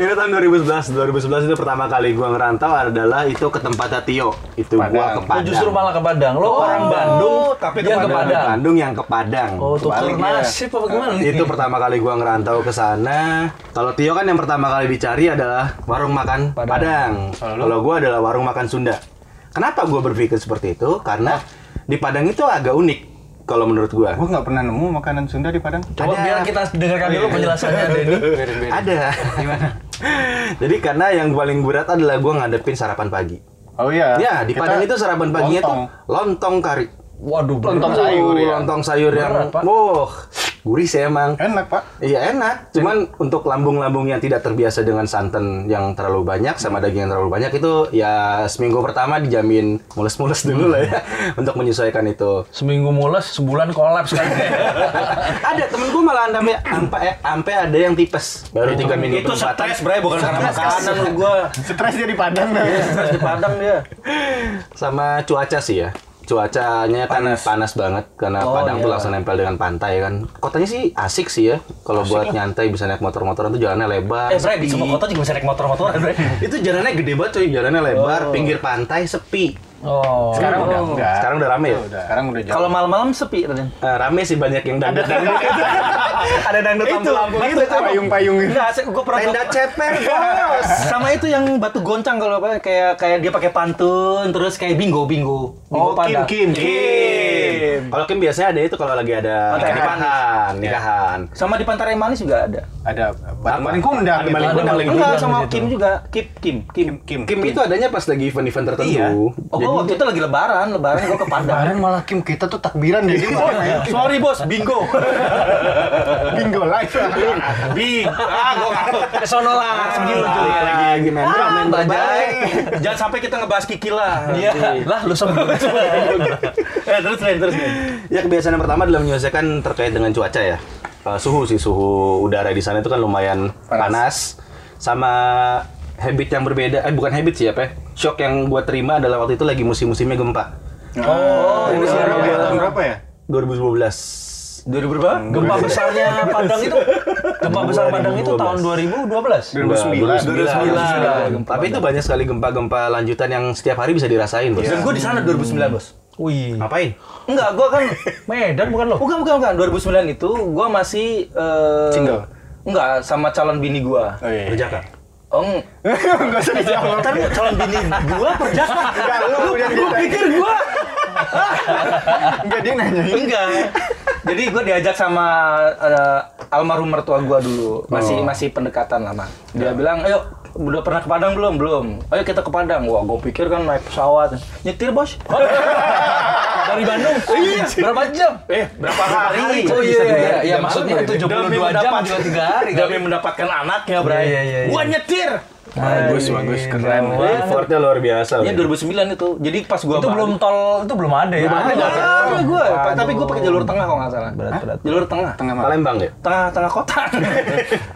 Speaker 1: Ini tahun 2011. 2011 itu pertama kali gua ngerantau adalah itu ke tempatnya Tio. Itu gua ke
Speaker 2: Padang.
Speaker 4: Oh,
Speaker 1: Padang.
Speaker 6: Justru malah ke Padang. Lo orang Bandung,
Speaker 1: tapi
Speaker 6: dia ke
Speaker 1: ke
Speaker 6: Padang.
Speaker 1: Bandung yang ke Padang.
Speaker 6: Oh, tuh
Speaker 2: Kebalik ya.
Speaker 6: nasib apa gimana? nih?
Speaker 1: itu pertama kali gua ngerantau ke sana. Kalau Tio kan yang pertama kali dicari adalah warung makan
Speaker 6: Padang.
Speaker 1: Padang. Kalau gua adalah warung makan Sunda. Kenapa gua berpikir seperti itu? Karena di Padang itu agak unik kalau menurut gua.
Speaker 2: Gue nggak pernah nemu makanan Sunda di Padang.
Speaker 6: Coba
Speaker 1: Ada-
Speaker 6: biar kita dengarkan dulu penjelasannya Denny.
Speaker 2: Beda-beda.
Speaker 1: Ada. Gimana? [LAUGHS] Jadi karena yang paling berat adalah gua ngadepin sarapan pagi.
Speaker 2: Oh iya.
Speaker 1: Ya, di
Speaker 2: Kita
Speaker 1: Padang itu sarapan paginya
Speaker 2: lontong.
Speaker 1: tuh lontong kari.
Speaker 6: Waduh,
Speaker 2: Lontong
Speaker 1: Aduh,
Speaker 2: sayur ya.
Speaker 1: Lontong sayur yang
Speaker 6: Berat, Pak.
Speaker 1: wah, gurih sih emang.
Speaker 2: Enak pak.
Speaker 1: Iya enak, cuman untuk lambung-lambung yang tidak terbiasa dengan santan yang terlalu banyak sama daging yang terlalu banyak itu ya seminggu pertama dijamin mules-mules dulu lah [LAUGHS] ya untuk menyesuaikan [LAUGHS] itu.
Speaker 6: Seminggu mules, sebulan kolaps kan.
Speaker 1: ada temen gue malah sampai sampai sampai ada yang tipes baru tiga minggu
Speaker 4: itu
Speaker 1: penobatan.
Speaker 4: stres bray bukan karena
Speaker 1: Stres, kan?
Speaker 4: makanan lu
Speaker 6: [LAUGHS]
Speaker 4: gua
Speaker 2: Stres dia di Padang. Pak.
Speaker 4: stres di Padang dia
Speaker 1: sama cuaca sih ya cuacanya kan panas, banget karena
Speaker 6: Oh,
Speaker 1: Padang tuh
Speaker 6: iya.
Speaker 1: langsung nempel dengan pantai kan kotanya sih asik sih ya kalau buat nyantai bisa naik motor-motoran tuh jalannya lebar
Speaker 4: eh bray
Speaker 1: sepi.
Speaker 4: di semua kota juga bisa naik motor-motoran bray
Speaker 1: itu jalannya gede banget cuy jalannya lebar pinggir pantai sepi
Speaker 6: Oh.
Speaker 2: Oh. Sekarang udah
Speaker 1: Oh.
Speaker 2: enggak.
Speaker 1: Sekarang udah rame ya?
Speaker 2: Udah. Sekarang udah jauh.
Speaker 4: kalau malam-malam sepi Raden
Speaker 1: Eh, rame sih banyak yang dangdut
Speaker 2: [LAUGHS]
Speaker 1: dangdut
Speaker 4: [LAUGHS] ada dangdut
Speaker 1: Itu,
Speaker 4: lampu-lampu
Speaker 1: itu,
Speaker 4: gitu
Speaker 1: itu.
Speaker 2: Payung-payung.
Speaker 4: enggak gua pernah
Speaker 1: tenda ceper bos
Speaker 4: sama itu yang batu goncang kalau apa kayak kayak dia pakai pantun terus kayak bingo bingo
Speaker 2: Oh,
Speaker 4: bingo
Speaker 2: Kim,
Speaker 4: Padang.
Speaker 2: Kim,
Speaker 1: Kim. Kalau Kim biasanya ada itu kalau lagi
Speaker 2: Oh,
Speaker 1: ada
Speaker 4: Nikahan.
Speaker 1: nikahan,
Speaker 2: Iya.
Speaker 1: nikahan.
Speaker 4: sama di pantai manis juga ada
Speaker 2: Ada batu
Speaker 1: Apa?
Speaker 2: maling kundang.
Speaker 1: Ada maling
Speaker 2: gitu.
Speaker 1: kundang. Paling
Speaker 4: enggak
Speaker 6: gudang
Speaker 4: sama
Speaker 6: gitu.
Speaker 4: Kim juga Kim Kim Kim
Speaker 2: Kim.
Speaker 1: Kim itu adanya pas lagi event-event tertentu.
Speaker 2: Iya.
Speaker 4: oh gua waktu itu lagi lebaran lebaran gua ke Padang
Speaker 2: Kemarin malah Kim kita tuh takbiran jadi [LAUGHS] malah
Speaker 4: sorry bos bingo
Speaker 2: bingo live.
Speaker 4: bing ah gua
Speaker 6: Kesono lah.
Speaker 1: lagi Ah, lagi
Speaker 2: Ah,
Speaker 1: main drum, main
Speaker 4: Bajai.
Speaker 1: bajai.
Speaker 4: [LAUGHS] jangan sampai kita ngebahas Kiki lah
Speaker 6: Iya. Lah lu sebelum.
Speaker 4: [LAUGHS] eh, terus Ren, terus Ren.
Speaker 1: Ya kebiasaan yang pertama adalah menyelesaikan terkait dengan cuaca ya. Eh, suhu sih suhu udara di sana itu kan lumayan panas. sama habit yang berbeda. Eh bukan habit sih apa? ya? Shock yang gua terima adalah waktu itu lagi musim-musimnya gempa.
Speaker 2: Oh, ini sekarang
Speaker 1: iya.
Speaker 2: tahun berapa ya?
Speaker 1: 2012.
Speaker 4: 2000 berapa
Speaker 6: Gempa besarnya Padang itu gempa besar Padang itu tahun 2012.
Speaker 1: 2009. Tapi itu banyak sekali gempa-gempa lanjutan yang setiap hari bisa dirasain,
Speaker 2: Iya.
Speaker 1: Bos.
Speaker 4: dan gua di sana 2009 bos
Speaker 6: Wih.
Speaker 1: Ngapain?
Speaker 4: enggak gua
Speaker 2: [LAUGHS]
Speaker 4: kan
Speaker 6: Medan bukan lo?
Speaker 4: bukan bukan bukan 2009 itu gua masih eh,
Speaker 2: Single?
Speaker 4: enggak sama calon bini gua
Speaker 2: Oh iya.
Speaker 1: Berjaka.
Speaker 4: Oh, eng-
Speaker 2: Enggak usah dijawab.
Speaker 4: [LAUGHS] Ntar lu calon bini gua perjaka.
Speaker 2: Enggak, lu udah
Speaker 4: Gua
Speaker 2: ditanya.
Speaker 4: pikir gua.
Speaker 2: [LAUGHS] Enggak dia nanyain.
Speaker 4: Enggak. Jadi gua diajak sama eh, almarhum mertua gua dulu.
Speaker 2: Oh.
Speaker 4: Masih masih pendekatan lama. Dia
Speaker 2: Ya.
Speaker 4: bilang, "Ayo, udah pernah ke Padang belum?" Belum. Ayo kita ke Padang. Wah, gua pikir kan naik pesawat. Nyetir,
Speaker 2: [LAUGHS]
Speaker 4: Bos.
Speaker 6: Dari Bandung?
Speaker 2: Iya.
Speaker 6: Berapa jam?
Speaker 4: Eh, berapa hari?
Speaker 6: Oh iya, iya, iya, iya, maksudnya itu 72
Speaker 4: ya? Demi
Speaker 6: jam,
Speaker 4: mendapat-
Speaker 6: 23 hari kali.
Speaker 4: Demi mendapatkan anaknya, Bray.
Speaker 6: Iya, iya, iya, iya.
Speaker 4: Gua nyetir.
Speaker 2: Bagus, bagus, keren.
Speaker 1: Effortnya luar biasa.
Speaker 2: Iya,
Speaker 4: Ini
Speaker 1: Bos.
Speaker 4: 2009 Iya. itu. Jadi pas gua
Speaker 6: Itu
Speaker 4: balik- Ah,
Speaker 6: belum tol, itu belum ada ya?
Speaker 4: Ada ada gue, tapi gue pakai jalur tengah kalau nggak salah.
Speaker 6: Berat, berat.
Speaker 4: Jalur tengah,
Speaker 2: Tengah malam.
Speaker 1: Palembang ya?
Speaker 4: tengah tengah [LAUGHS] kota.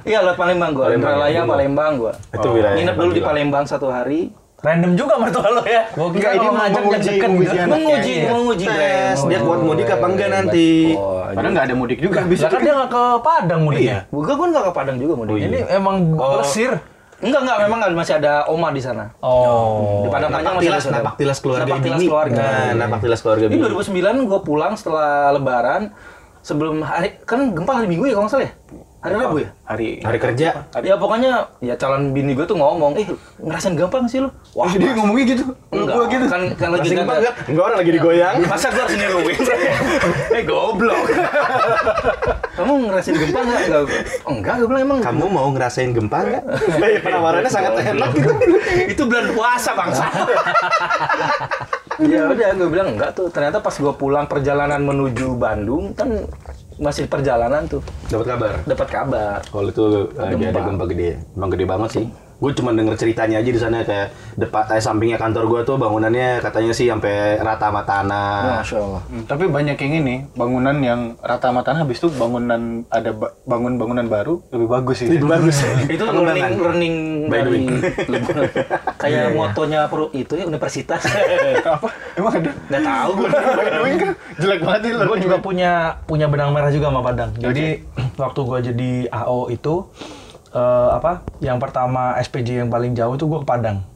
Speaker 4: Iya lewat Palembang iya. gue,
Speaker 1: Palembang,
Speaker 4: Indralaya
Speaker 1: Palembang.
Speaker 4: Palembang gue.
Speaker 1: Itu wilayah.
Speaker 4: Nginep dulu di Palembang satu hari.
Speaker 6: Random juga mertua lo ya? Gue
Speaker 2: Enggak,
Speaker 6: kira
Speaker 2: ini
Speaker 6: kalau ngajak
Speaker 2: menguji-
Speaker 6: yang deket
Speaker 2: menguji
Speaker 6: gitu.
Speaker 2: anak.
Speaker 4: Menguji,
Speaker 6: Iya.
Speaker 4: menguji
Speaker 1: Tes,
Speaker 4: gue.
Speaker 1: dia kuat mudik apa enggak nanti?
Speaker 2: Padahal enggak ada mudik juga habis
Speaker 6: Lah
Speaker 2: itu.
Speaker 6: kan dia nggak ke Padang mudik ya?
Speaker 4: Gue kan nggak ke Padang juga mau
Speaker 1: Oh, iya.
Speaker 6: Ini emang
Speaker 1: Oh.
Speaker 6: Mesir.
Speaker 4: Enggak enggak, memang nggak, masih ada Oma di sana.
Speaker 6: Oh.
Speaker 4: Di Padang Panjang
Speaker 1: Napak
Speaker 4: masih ada
Speaker 1: tilas,
Speaker 4: saudara.
Speaker 1: napak tilas keluarga
Speaker 4: Napak tilas
Speaker 1: Bini.
Speaker 4: keluarga.
Speaker 1: Nah, napak tilas keluarga
Speaker 4: Ini
Speaker 1: Bini.
Speaker 4: 2009 gue pulang setelah Lebaran, sebelum hari kan gempa hari Minggu ya kalau nggak salah ya? Hari Rabu ya?
Speaker 2: Hari
Speaker 1: Hari kerja.
Speaker 4: Ya pokoknya ya calon bini gue tuh ngomong, eh ngerasain gampang sih lu. Wah,
Speaker 2: Wah, dia ngomongnya gitu.
Speaker 4: enggak.
Speaker 2: Gua gitu.
Speaker 4: Kan, kan lagi
Speaker 1: Masih
Speaker 4: gak
Speaker 1: gempa enggak? Enggak orang lagi digoyang.
Speaker 4: Masa gue harus niruin? eh goblok. [LAUGHS] Kamu ngerasain gempa enggak? Enggak, oh, enggak gue bilang emang.
Speaker 1: [LAUGHS] Kamu mau ngerasain gempa enggak? Eh, Penawarannya sangat enak gitu.
Speaker 4: Itu bulan puasa bangsa. ya udah gue bilang enggak tuh. Ternyata pas gue pulang perjalanan menuju Bandung kan masih perjalanan tuh
Speaker 1: Dapat kabar.
Speaker 4: dapat kabar.
Speaker 1: Kalau itu lagi ada gempa gede. Emang gede banget sih. Gue cuma denger ceritanya aja di sana kayak depan eh, sampingnya kantor gue tuh bangunannya katanya sih sampai rata sama tanah.
Speaker 4: Masya Allah.
Speaker 2: Hmm, tapi banyak yang ini bangunan yang rata sama tanah habis itu bangunan ada ba- bangun bangunan baru lebih bagus sih. Lebih
Speaker 1: [LAUGHS]
Speaker 2: bagus.
Speaker 4: Itu
Speaker 1: Pengembangan.
Speaker 4: learning, learning
Speaker 1: By
Speaker 4: [LAUGHS]
Speaker 1: Iya,
Speaker 4: dari
Speaker 1: doing.
Speaker 4: liburan. Kayak motonya pro itu ya
Speaker 1: [LAUGHS]
Speaker 4: universitas.
Speaker 2: Apa? Emang ada?
Speaker 4: Nggak tahu gue.
Speaker 2: Wing kan jelek banget nih.
Speaker 6: gue juga punya punya benang merah juga sama Padang. Jadi waktu gue jadi AO itu eh, apa? Yang pertama SPJ yang paling jauh itu gue ke Padang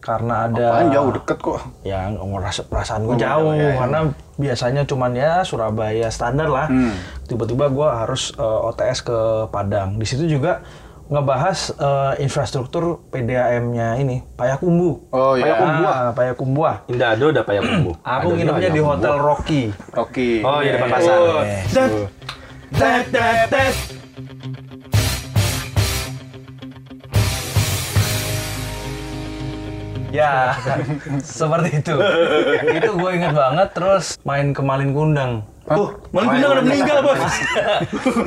Speaker 6: karena ada
Speaker 2: Apaan Kan Oh, iya, jauh deket kok.
Speaker 6: ya ngerasa perasaan gue jauh karena biasanya cuman ya Surabaya standar lah
Speaker 2: Hmm.
Speaker 6: tiba-tiba gue harus eh, OTS ke Padang di situ juga ngebahas eh, infrastruktur PDAM-nya ini Payakumbu
Speaker 2: Oh iya.
Speaker 6: Payakumbuah Payakumbuah
Speaker 1: Indado udah payah bumbu.
Speaker 6: [CLEARS THROAT] aku nginepnya di Hotel Rocky
Speaker 2: Rocky.
Speaker 1: Oh, iya depan pasar.
Speaker 6: Ya, seperti itu. itu gue inget banget. Terus main ke Malin Kundang.
Speaker 4: Oh, malah gue udah meninggal
Speaker 6: [LAUGHS]
Speaker 4: bos.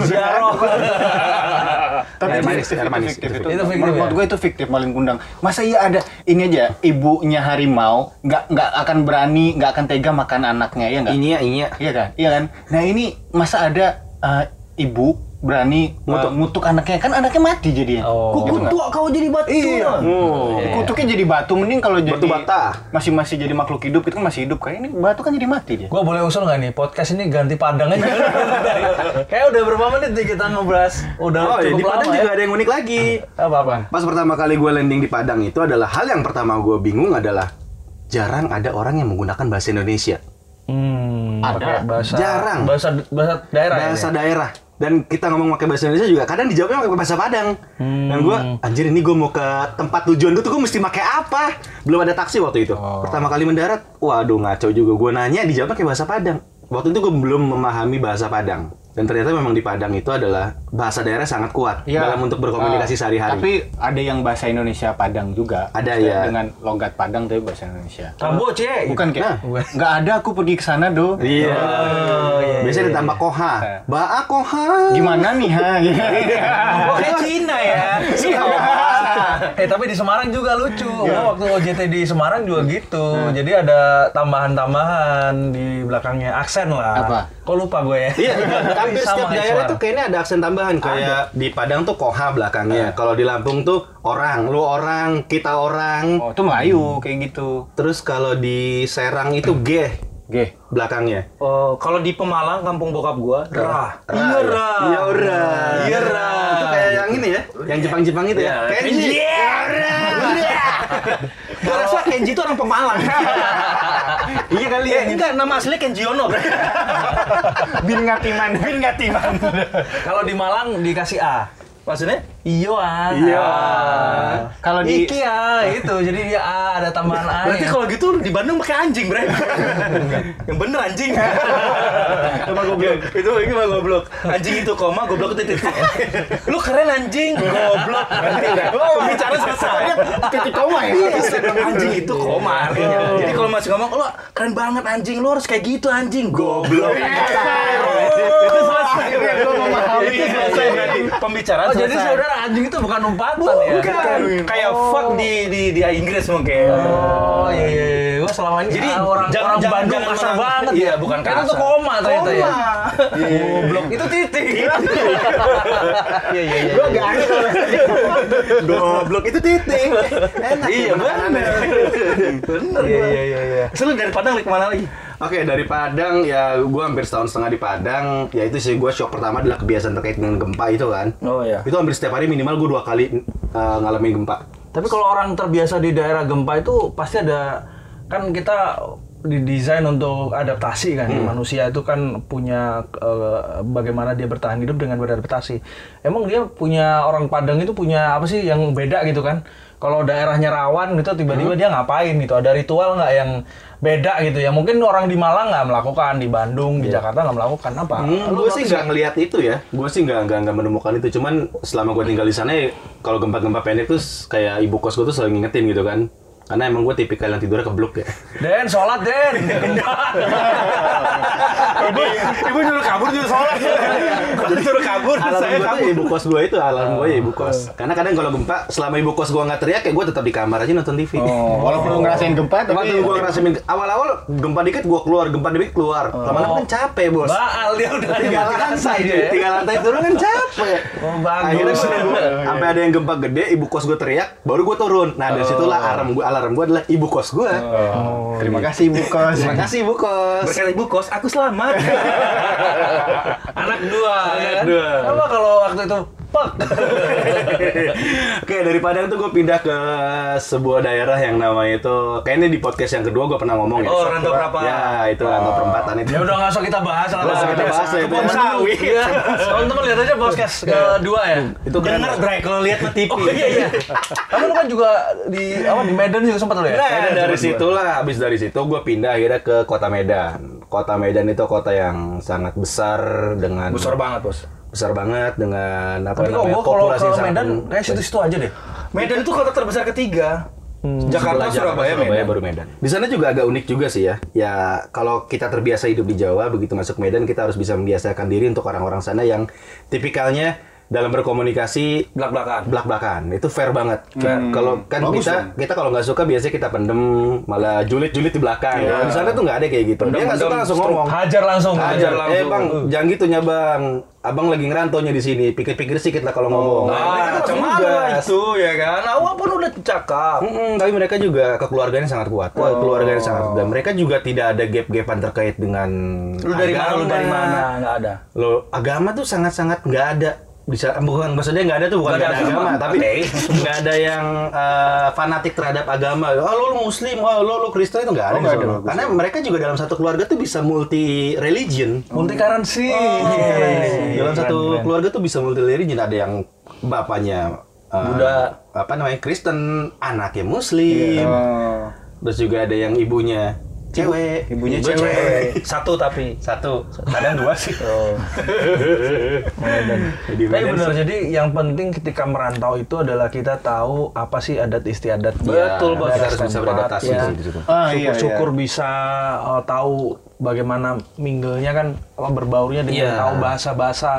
Speaker 6: Ziarah.
Speaker 2: Tapi
Speaker 1: Air
Speaker 2: Iya, itu
Speaker 1: manis,
Speaker 2: fiktif,
Speaker 1: air manis,
Speaker 2: fiktif,
Speaker 1: itu
Speaker 2: itu.
Speaker 6: fiktif. Itu fiktif,
Speaker 2: Menurut
Speaker 6: ya?
Speaker 2: gue itu fiktif maling kundang. Masa iya ada ini aja ibunya harimau nggak nggak akan berani nggak akan tega makan anaknya ya nggak?
Speaker 1: Inya, inya.
Speaker 2: Iya kan? Iya kan? Nah ini masa ada eh, ibu berani eh,
Speaker 1: Ngutuk.
Speaker 2: ngutuk. anaknya kan anaknya mati jadinya.
Speaker 6: Oh.
Speaker 2: Gitu
Speaker 4: Kuku
Speaker 2: nggak?
Speaker 4: tua kau jadi batu.
Speaker 2: Iya.
Speaker 1: Oh.
Speaker 2: Kutuknya jadi batu mending kalau jadi
Speaker 1: Batu bata.
Speaker 2: masih masih jadi makhluk hidup itu kan masih hidup kayak ini batu kan jadi mati dia.
Speaker 6: Gue boleh usul nggak nih podcast ini ganti Padang
Speaker 1: [LAUGHS]
Speaker 6: aja? Kayak udah berapa menit nih kita ngebahas? Udah
Speaker 1: Oh, ya,
Speaker 6: cukup
Speaker 1: di
Speaker 6: lama
Speaker 1: Padang
Speaker 6: ya?
Speaker 1: juga ada yang unik lagi.
Speaker 6: Apa apa?
Speaker 1: Pas pertama kali gue landing di Padang itu adalah hal yang pertama gue bingung adalah jarang ada orang yang menggunakan bahasa Indonesia.
Speaker 6: Hmm, ada bahasa
Speaker 1: Jarang.
Speaker 6: bahasa bahasa daerah.
Speaker 1: bahasa
Speaker 6: ya?
Speaker 1: daerah dan kita ngomong pakai bahasa Indonesia juga kadang dijawabnya pakai bahasa Padang
Speaker 6: Hmm.
Speaker 1: dan gue anjir ini gue mau ke tempat tujuan gue tuh gue mesti pakai apa belum ada taksi waktu itu
Speaker 6: Oh.
Speaker 1: pertama kali mendarat waduh ngaco juga gue nanya dijawab pakai bahasa Padang waktu itu gue belum memahami bahasa Padang dan ternyata memang di Padang itu adalah bahasa daerah sangat kuat
Speaker 2: Iya.
Speaker 1: dalam untuk berkomunikasi
Speaker 2: Ah,
Speaker 1: sehari-hari
Speaker 2: Tapi ada yang bahasa Indonesia Padang juga.
Speaker 1: Ada,
Speaker 2: Maksudnya
Speaker 1: ya.
Speaker 2: Dengan logat Padang tapi bahasa Indonesia.
Speaker 6: Kambo, Cek.
Speaker 2: Bukan
Speaker 1: Nah.
Speaker 2: kayak nggak ada aku pergi ke sana do.
Speaker 1: Iya.
Speaker 6: iya, Eh.
Speaker 1: Biasanya ditambah koha. Baa koha.
Speaker 2: Gimana nih
Speaker 1: [LAUGHS]
Speaker 2: ha?
Speaker 6: Oh, kayak Cina ya. Iya. eh tapi di Semarang juga lucu. Gua waktu OJT di Semarang juga gitu. Jadi ada tambahan-tambahan di belakangnya aksen lah.
Speaker 2: Apa?
Speaker 6: Kok lupa gue ya?
Speaker 1: Iya,
Speaker 6: [LAUGHS]
Speaker 1: hampir
Speaker 6: Sama
Speaker 1: setiap
Speaker 6: kayak
Speaker 1: daerah
Speaker 6: Semarang.
Speaker 1: tuh kayaknya ada aksen tambahan. Ah. Kayak di Padang tuh koha belakangnya. Kalau di Lampung tuh orang, lu orang, kita orang.
Speaker 2: Oh, itu Melayu kayak gitu.
Speaker 1: Terus kalau di Serang itu ge
Speaker 2: Oke.
Speaker 1: belakangnya.
Speaker 4: Oh, kalau di Pemalang kampung bokap gua, rah.
Speaker 1: Iya, ra. Iya, ra. Iya, ra. Itu kayak yang ini ya, yang Jepang-Jepang itu ya. Kenji. Iya, ra.
Speaker 4: Iya. Gua rasa Kenji itu orang Pemalang.
Speaker 1: [LAUGHS] Iya kali ya.
Speaker 4: Eh, enggak, nama asli Kenjiono. bro.
Speaker 1: [LAUGHS]
Speaker 2: Bin ngatiman, [LAUGHS] bin ngatiman.
Speaker 6: Kalau di Malang dikasih A.
Speaker 4: Maksudnya?
Speaker 6: Iyo A. Ah.
Speaker 1: Iya.
Speaker 2: Kalau di
Speaker 6: Iki A itu. Jadi dia A ada tambahan A.
Speaker 4: Berarti kalau gitu di Bandung pakai anjing,
Speaker 6: [LAUGHS]
Speaker 4: Bre. Yang bener anjing. Sama goblok. Itu ini mah goblok. Anjing itu koma, goblok itu titik. Lu keren anjing, goblok. Oh, bicara selesai. Iya,
Speaker 2: titik koma ya.
Speaker 4: Anjing itu koma.
Speaker 6: Oh.
Speaker 4: Jadi kalau masih ngomong, lu keren banget anjing, lu harus kayak gitu anjing, goblok.
Speaker 6: Iya.
Speaker 4: Itu selesai.
Speaker 2: Gua memahami.
Speaker 4: Itu selesai berarti pembicaraan
Speaker 6: Oh, jadi
Speaker 4: selesai.
Speaker 6: saudara anjing itu bukan umpatan ya?
Speaker 4: Bukan. Kayak fuck di di di Inggris mungkin.
Speaker 6: Oh iya, iya, iya. Wah, selama ini
Speaker 4: Jadi,
Speaker 6: ah, orang
Speaker 4: jangan-
Speaker 6: orang
Speaker 4: jangan-
Speaker 6: Bandung
Speaker 4: jangan
Speaker 6: kasar
Speaker 4: orang-
Speaker 6: banget
Speaker 4: Iya,
Speaker 6: ya.
Speaker 4: bukan
Speaker 6: Karena itu
Speaker 4: kasar.
Speaker 6: koma ternyata ya.
Speaker 4: Koma. iya,
Speaker 6: Goblok. Itu titik. Iya iya iya.
Speaker 2: Gua gak aneh kalau
Speaker 1: Goblok itu titik. Enak.
Speaker 4: Iya, bener. Bener.
Speaker 6: Iya iya iya iya.
Speaker 4: Terus lu dari Padang lagi kemana lagi?
Speaker 1: Oke dari Padang ya gue hampir setahun setengah di Padang ya itu sih gue shock pertama adalah kebiasaan terkait dengan gempa itu kan
Speaker 4: Oh iya.
Speaker 1: itu hampir setiap hari minimal gue dua kali eh, ngalamin gempa
Speaker 6: Tapi kalau orang terbiasa di daerah gempa itu pasti ada kan kita didesain untuk adaptasi kan manusia itu kan punya eh, bagaimana dia bertahan hidup dengan beradaptasi. Emang dia punya orang Padang itu punya apa sih yang beda gitu kan? Kalau daerahnya rawan gitu tiba-tiba dia ngapain gitu? Ada ritual nggak yang beda gitu ya? Mungkin orang di Malang nggak melakukan, di Bandung, di Jakarta nggak melakukan apa? Lu
Speaker 1: gue Hmm, sih nggak ngelihat itu ya gue sih nggak nggak nggak menemukan itu cuman selama gue tinggal di sana ya, kalau gempa-gempa pendek tuh s- kayak ibu kos gue tuh selalu ngingetin gitu kan Karena emang gue tipikal yang tidurnya
Speaker 2: [LAUGHS]
Speaker 1: keblok ya.
Speaker 6: Den, sholat Den.
Speaker 2: ibu, ibu nyuruh kabur nyuruh
Speaker 6: [LAUGHS]
Speaker 2: sholat. Jadi suruh kabur
Speaker 1: alarm gue
Speaker 2: saya
Speaker 1: tuh
Speaker 2: kabur.
Speaker 1: ibu kos gue itu alarm
Speaker 2: Oh.
Speaker 1: gue ya ibu kos. Karena kadang kalau gempa, selama ibu kos gue nggak teriak ya gue tetap di kamar aja nonton TV.
Speaker 2: Oh, walaupun lu ngerasain gempa tapi ya.
Speaker 1: Waktu gue ngerasain awal-awal gempa dikit gue keluar, gempa dikit keluar.
Speaker 2: Oh.
Speaker 1: Lama-lama kan capek bos.
Speaker 6: Baal dia udah
Speaker 1: tiga lantai
Speaker 6: Iya, dia.
Speaker 1: tiga lantai turun kan capek
Speaker 6: Oh, bagus.
Speaker 1: akhirnya gue nunggu sampai ada yang gempa gede ibu kos gue teriak baru gue turun nah dari situlah alarm gue alarm gue adalah ibu kos gue
Speaker 2: Terima kasih ibu kos.
Speaker 1: terima kasih ibu
Speaker 4: [LAUGHS]
Speaker 1: kos
Speaker 4: Berkat ibu kos, aku selamat.
Speaker 6: Anak dua. ya kan?
Speaker 1: dua.
Speaker 6: Apa kalau waktu itu pek.
Speaker 1: Oke dari Padang tuh gue pindah ke sebuah daerah yang namanya itu kayaknya di podcast yang kedua gue pernah ngomong ya
Speaker 4: Oh, Rantau Perapatan.
Speaker 1: ya itu Rantau Perempatan itu
Speaker 6: Ya udah nggak usah kita bahas lah.
Speaker 1: Nggak usah kita bahas lah, itu
Speaker 6: Kebun
Speaker 1: ya.
Speaker 6: sawit. Iya. Teman-teman lihat aja podcast kedua ya.
Speaker 1: itu keren
Speaker 4: Dengar
Speaker 1: banget.
Speaker 4: Bray, kalau lihat mah TV.
Speaker 6: Oh iya iya. Kamu lu kan juga di apa di Medan juga sempat lu ya?
Speaker 1: Nah, dari situlah habis dari situ gue pindah akhirnya ke kota Medan. Kota Medan itu kota yang sangat besar dengan
Speaker 4: Besar banget, Bos.
Speaker 1: besar banget dengan apa
Speaker 6: Tapi kok
Speaker 1: namanya
Speaker 6: gua kalau
Speaker 1: populasi
Speaker 6: ke
Speaker 1: yang sangat-
Speaker 6: Medan eh, kayak situ-situ aja deh.
Speaker 4: Medan itu kota terbesar ketiga.
Speaker 6: Hmm,
Speaker 1: Setelah
Speaker 4: Jakarta, Surabaya, Medan.
Speaker 1: baru Medan. Di sana juga agak unik juga sih ya. Ya kalau kita terbiasa hidup di Jawa, begitu masuk Medan kita harus bisa membiasakan diri untuk orang-orang sana yang tipikalnya dalam berkomunikasi
Speaker 4: Belak-belakan.
Speaker 1: belak-belakan itu fair banget Kita- kalau kan kita kita kalau nggak suka biasanya kita pendem malah julid-julid di belakang
Speaker 4: Iya.
Speaker 1: Kalau di sana tuh nggak ada kayak gitu dia nggak suka langsung ngomong
Speaker 6: Hajar langsung.
Speaker 1: Hajar eh bang
Speaker 4: Hmm.
Speaker 1: jangan gitu ya bang abang lagi ngerantonya di sini pikir-pikir sikit lah kalau ngomong
Speaker 4: Ah,
Speaker 1: Mereka kan
Speaker 4: cuma
Speaker 1: juga.
Speaker 4: itu ya kan. Awal pun udah cakap.
Speaker 1: Mm-mm, tapi mereka juga kekeluarganya sangat kuat keluarganya sangat dan mereka juga tidak ada gap-gapan terkait dengan
Speaker 4: Oh. Lu dari mana? Lu dari mana? Enggak ada.
Speaker 1: Loh, agama tuh sangat-sangat nggak ada bisa bukan maksudnya nggak ada tuh bukan nggak ada agama, tapi nggak ada yang eh, fanatik terhadap agama oh lo, lo muslim oh lo lo kristen itu nggak ada, di
Speaker 2: nggak ada,
Speaker 1: sana.
Speaker 2: bagus.
Speaker 1: karena mereka juga dalam satu keluarga tuh bisa multi religion
Speaker 6: Multi currency.
Speaker 1: Oh. dalam satu keluarga tuh bisa multi religion ada yang bapaknya eh, apa namanya Kristen anaknya Muslim
Speaker 4: Iya.
Speaker 1: terus juga ada yang ibunya cewek
Speaker 2: Ibunya
Speaker 1: Gua
Speaker 2: cewek.
Speaker 4: Satu tapi.
Speaker 1: satu kadang dua sih Jadi
Speaker 6: Tapi
Speaker 1: Medan
Speaker 6: benar, jadi yang penting ketika merantau itu adalah kita tahu apa sih adat istiadat Iya,
Speaker 1: Betul, Bos. Ya,
Speaker 6: daerah
Speaker 1: Kita harus bisa
Speaker 6: setempat,
Speaker 1: beradaptasi
Speaker 6: ya.
Speaker 1: sih di situ.
Speaker 2: Ah, iya,
Speaker 6: Syukur-syukur bisa uh, tahu bagaimana minglenya kan apa, berbaurnya dengan
Speaker 1: Iya.
Speaker 6: tahu bahasa-bahasa,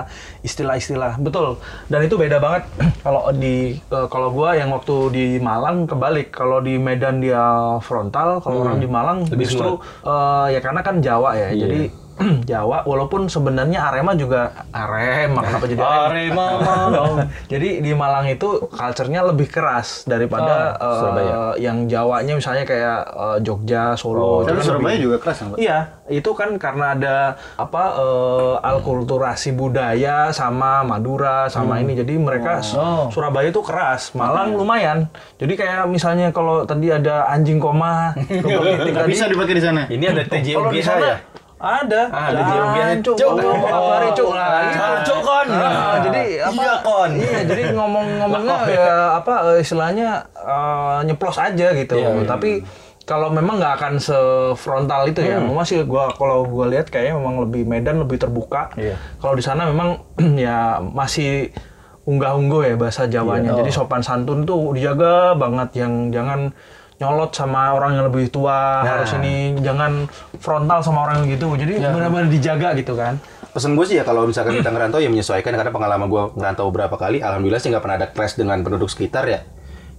Speaker 6: istilah-istilah. Betul. Dan itu beda banget [CLEARS THROAT] kalau di uh, kalau gua yang waktu di Malang kebalik. Kalau di Medan dia frontal, kalau orang di Malang justru uh, ya karena kan Jawa ya. Jadi [CLEARS THROAT] Jawa walaupun sebenarnya Arema juga Arema kenapa jadi [LAUGHS] Arema jadi di Malang itu culture-nya lebih keras daripada eh, yang Jawanya misalnya kayak eh, Jogja Solo Itu
Speaker 2: iya. Tapi
Speaker 6: kan
Speaker 2: Surabaya
Speaker 6: lebih-
Speaker 2: juga keras nggak?
Speaker 6: Iya, itu kan karena ada apa eh, alkulturasi budaya sama Madura sama ini. Jadi mereka Su- Surabaya itu keras, Malang lumayan. Jadi kayak misalnya kalau tadi ada anjing [LAUGHS] koma, kalau
Speaker 1: Iya,
Speaker 2: Nggak bisa dipakai di sana.
Speaker 1: ini ada
Speaker 6: kalau
Speaker 1: TJUGH
Speaker 6: di sana
Speaker 1: ya
Speaker 6: ada.
Speaker 1: Ah, ada geogianya.
Speaker 6: Cuk,
Speaker 1: Cuk.
Speaker 6: ngomong kabar, Cuk, lah. Gitu.
Speaker 4: Ah, Cuk, kon.
Speaker 6: Ah, jadi apa?
Speaker 4: Iya, kon.
Speaker 6: Iya, jadi ngomong-ngomongnya ya apa eh, istilahnya eh, nyeplos aja gitu. Tapi kalau memang nggak akan sefrontal itu ya, memang sih gua kalau gua lihat kayaknya memang lebih Medan lebih terbuka. Kalau di sana memang [CLEARS THROAT] ya masih unggah-ungguh ya bahasa Jawanya. Jadi sopan santun tuh dijaga banget yang jangan nyolot sama orang yang lebih tua harus ini jangan frontal sama orang yang gitu jadi benar-benar dijaga gitu kan
Speaker 1: pesan gue sih ya kalau misalkan kita ngerantau ya menyesuaikan karena pengalaman gue ngerantau berapa kali alhamdulillah sih nggak pernah ada clash dengan penduduk sekitar ya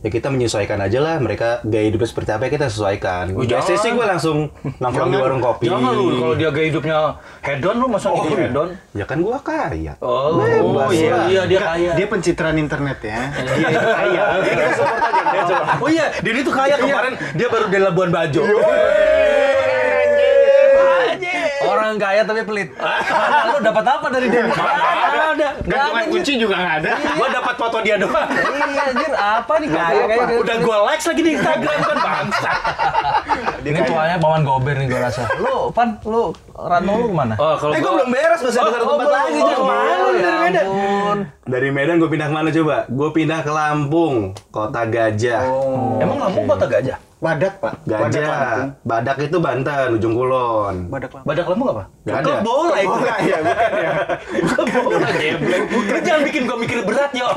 Speaker 1: ya kita menyesuaikan aja lah mereka gaya hidupnya seperti apa ya kita sesuaikan biasanya sih gue langsung nongkrong di warung kopi
Speaker 4: Oh, Jangan lu kalau dia gaya hidupnya head on lu masuk Iya. oh, head on.
Speaker 1: ya kan gue kaya
Speaker 4: Oh,
Speaker 6: Nah,
Speaker 1: Bebas
Speaker 4: iya,
Speaker 1: lah.
Speaker 4: iya dia kaya.
Speaker 2: Dia pencitraan internet ya. Dia itu kaya.
Speaker 4: Oh iya, dia itu kaya kemarin dia baru di Labuan Bajo.
Speaker 6: orang kaya tapi pelit
Speaker 4: [LAUGHS]
Speaker 6: lu dapat apa dari dia Nggak ada Nggak
Speaker 2: Gantungan
Speaker 6: ada,
Speaker 2: kunci juga nggak ada.
Speaker 4: Gua dapat foto dia doang.
Speaker 6: iya anjir apa nih kaya kaya kaya.
Speaker 4: Udah gua likes lagi di Instagram kan bangsa.
Speaker 6: ini tuanya paman gober nih gua rasa lu pan lu Rantau lu kemana?
Speaker 1: Oh, kalau
Speaker 4: Eh, gua
Speaker 1: gua-
Speaker 4: Oh, belum ya beres, masih ada satu tempat lagi, Jack. Kemana lu dari Medan?
Speaker 1: Dari Medan gue pindah kemana coba? Gue pindah ke Lampung, kota gajah.
Speaker 4: Oh. Emang Lampung kota gajah?
Speaker 2: Badak, Pak. Badak Lampung.
Speaker 1: Gajah. Badak itu Banten, ujung kulon. [LAUGHS]
Speaker 2: Badak Lampung.
Speaker 4: Badak Lampung apa?
Speaker 1: Gak ada.
Speaker 4: Bola itu.
Speaker 2: Bola ya, bukan ya.
Speaker 4: Bola gebleng. Lu jangan bikin gua mikir berat, yo.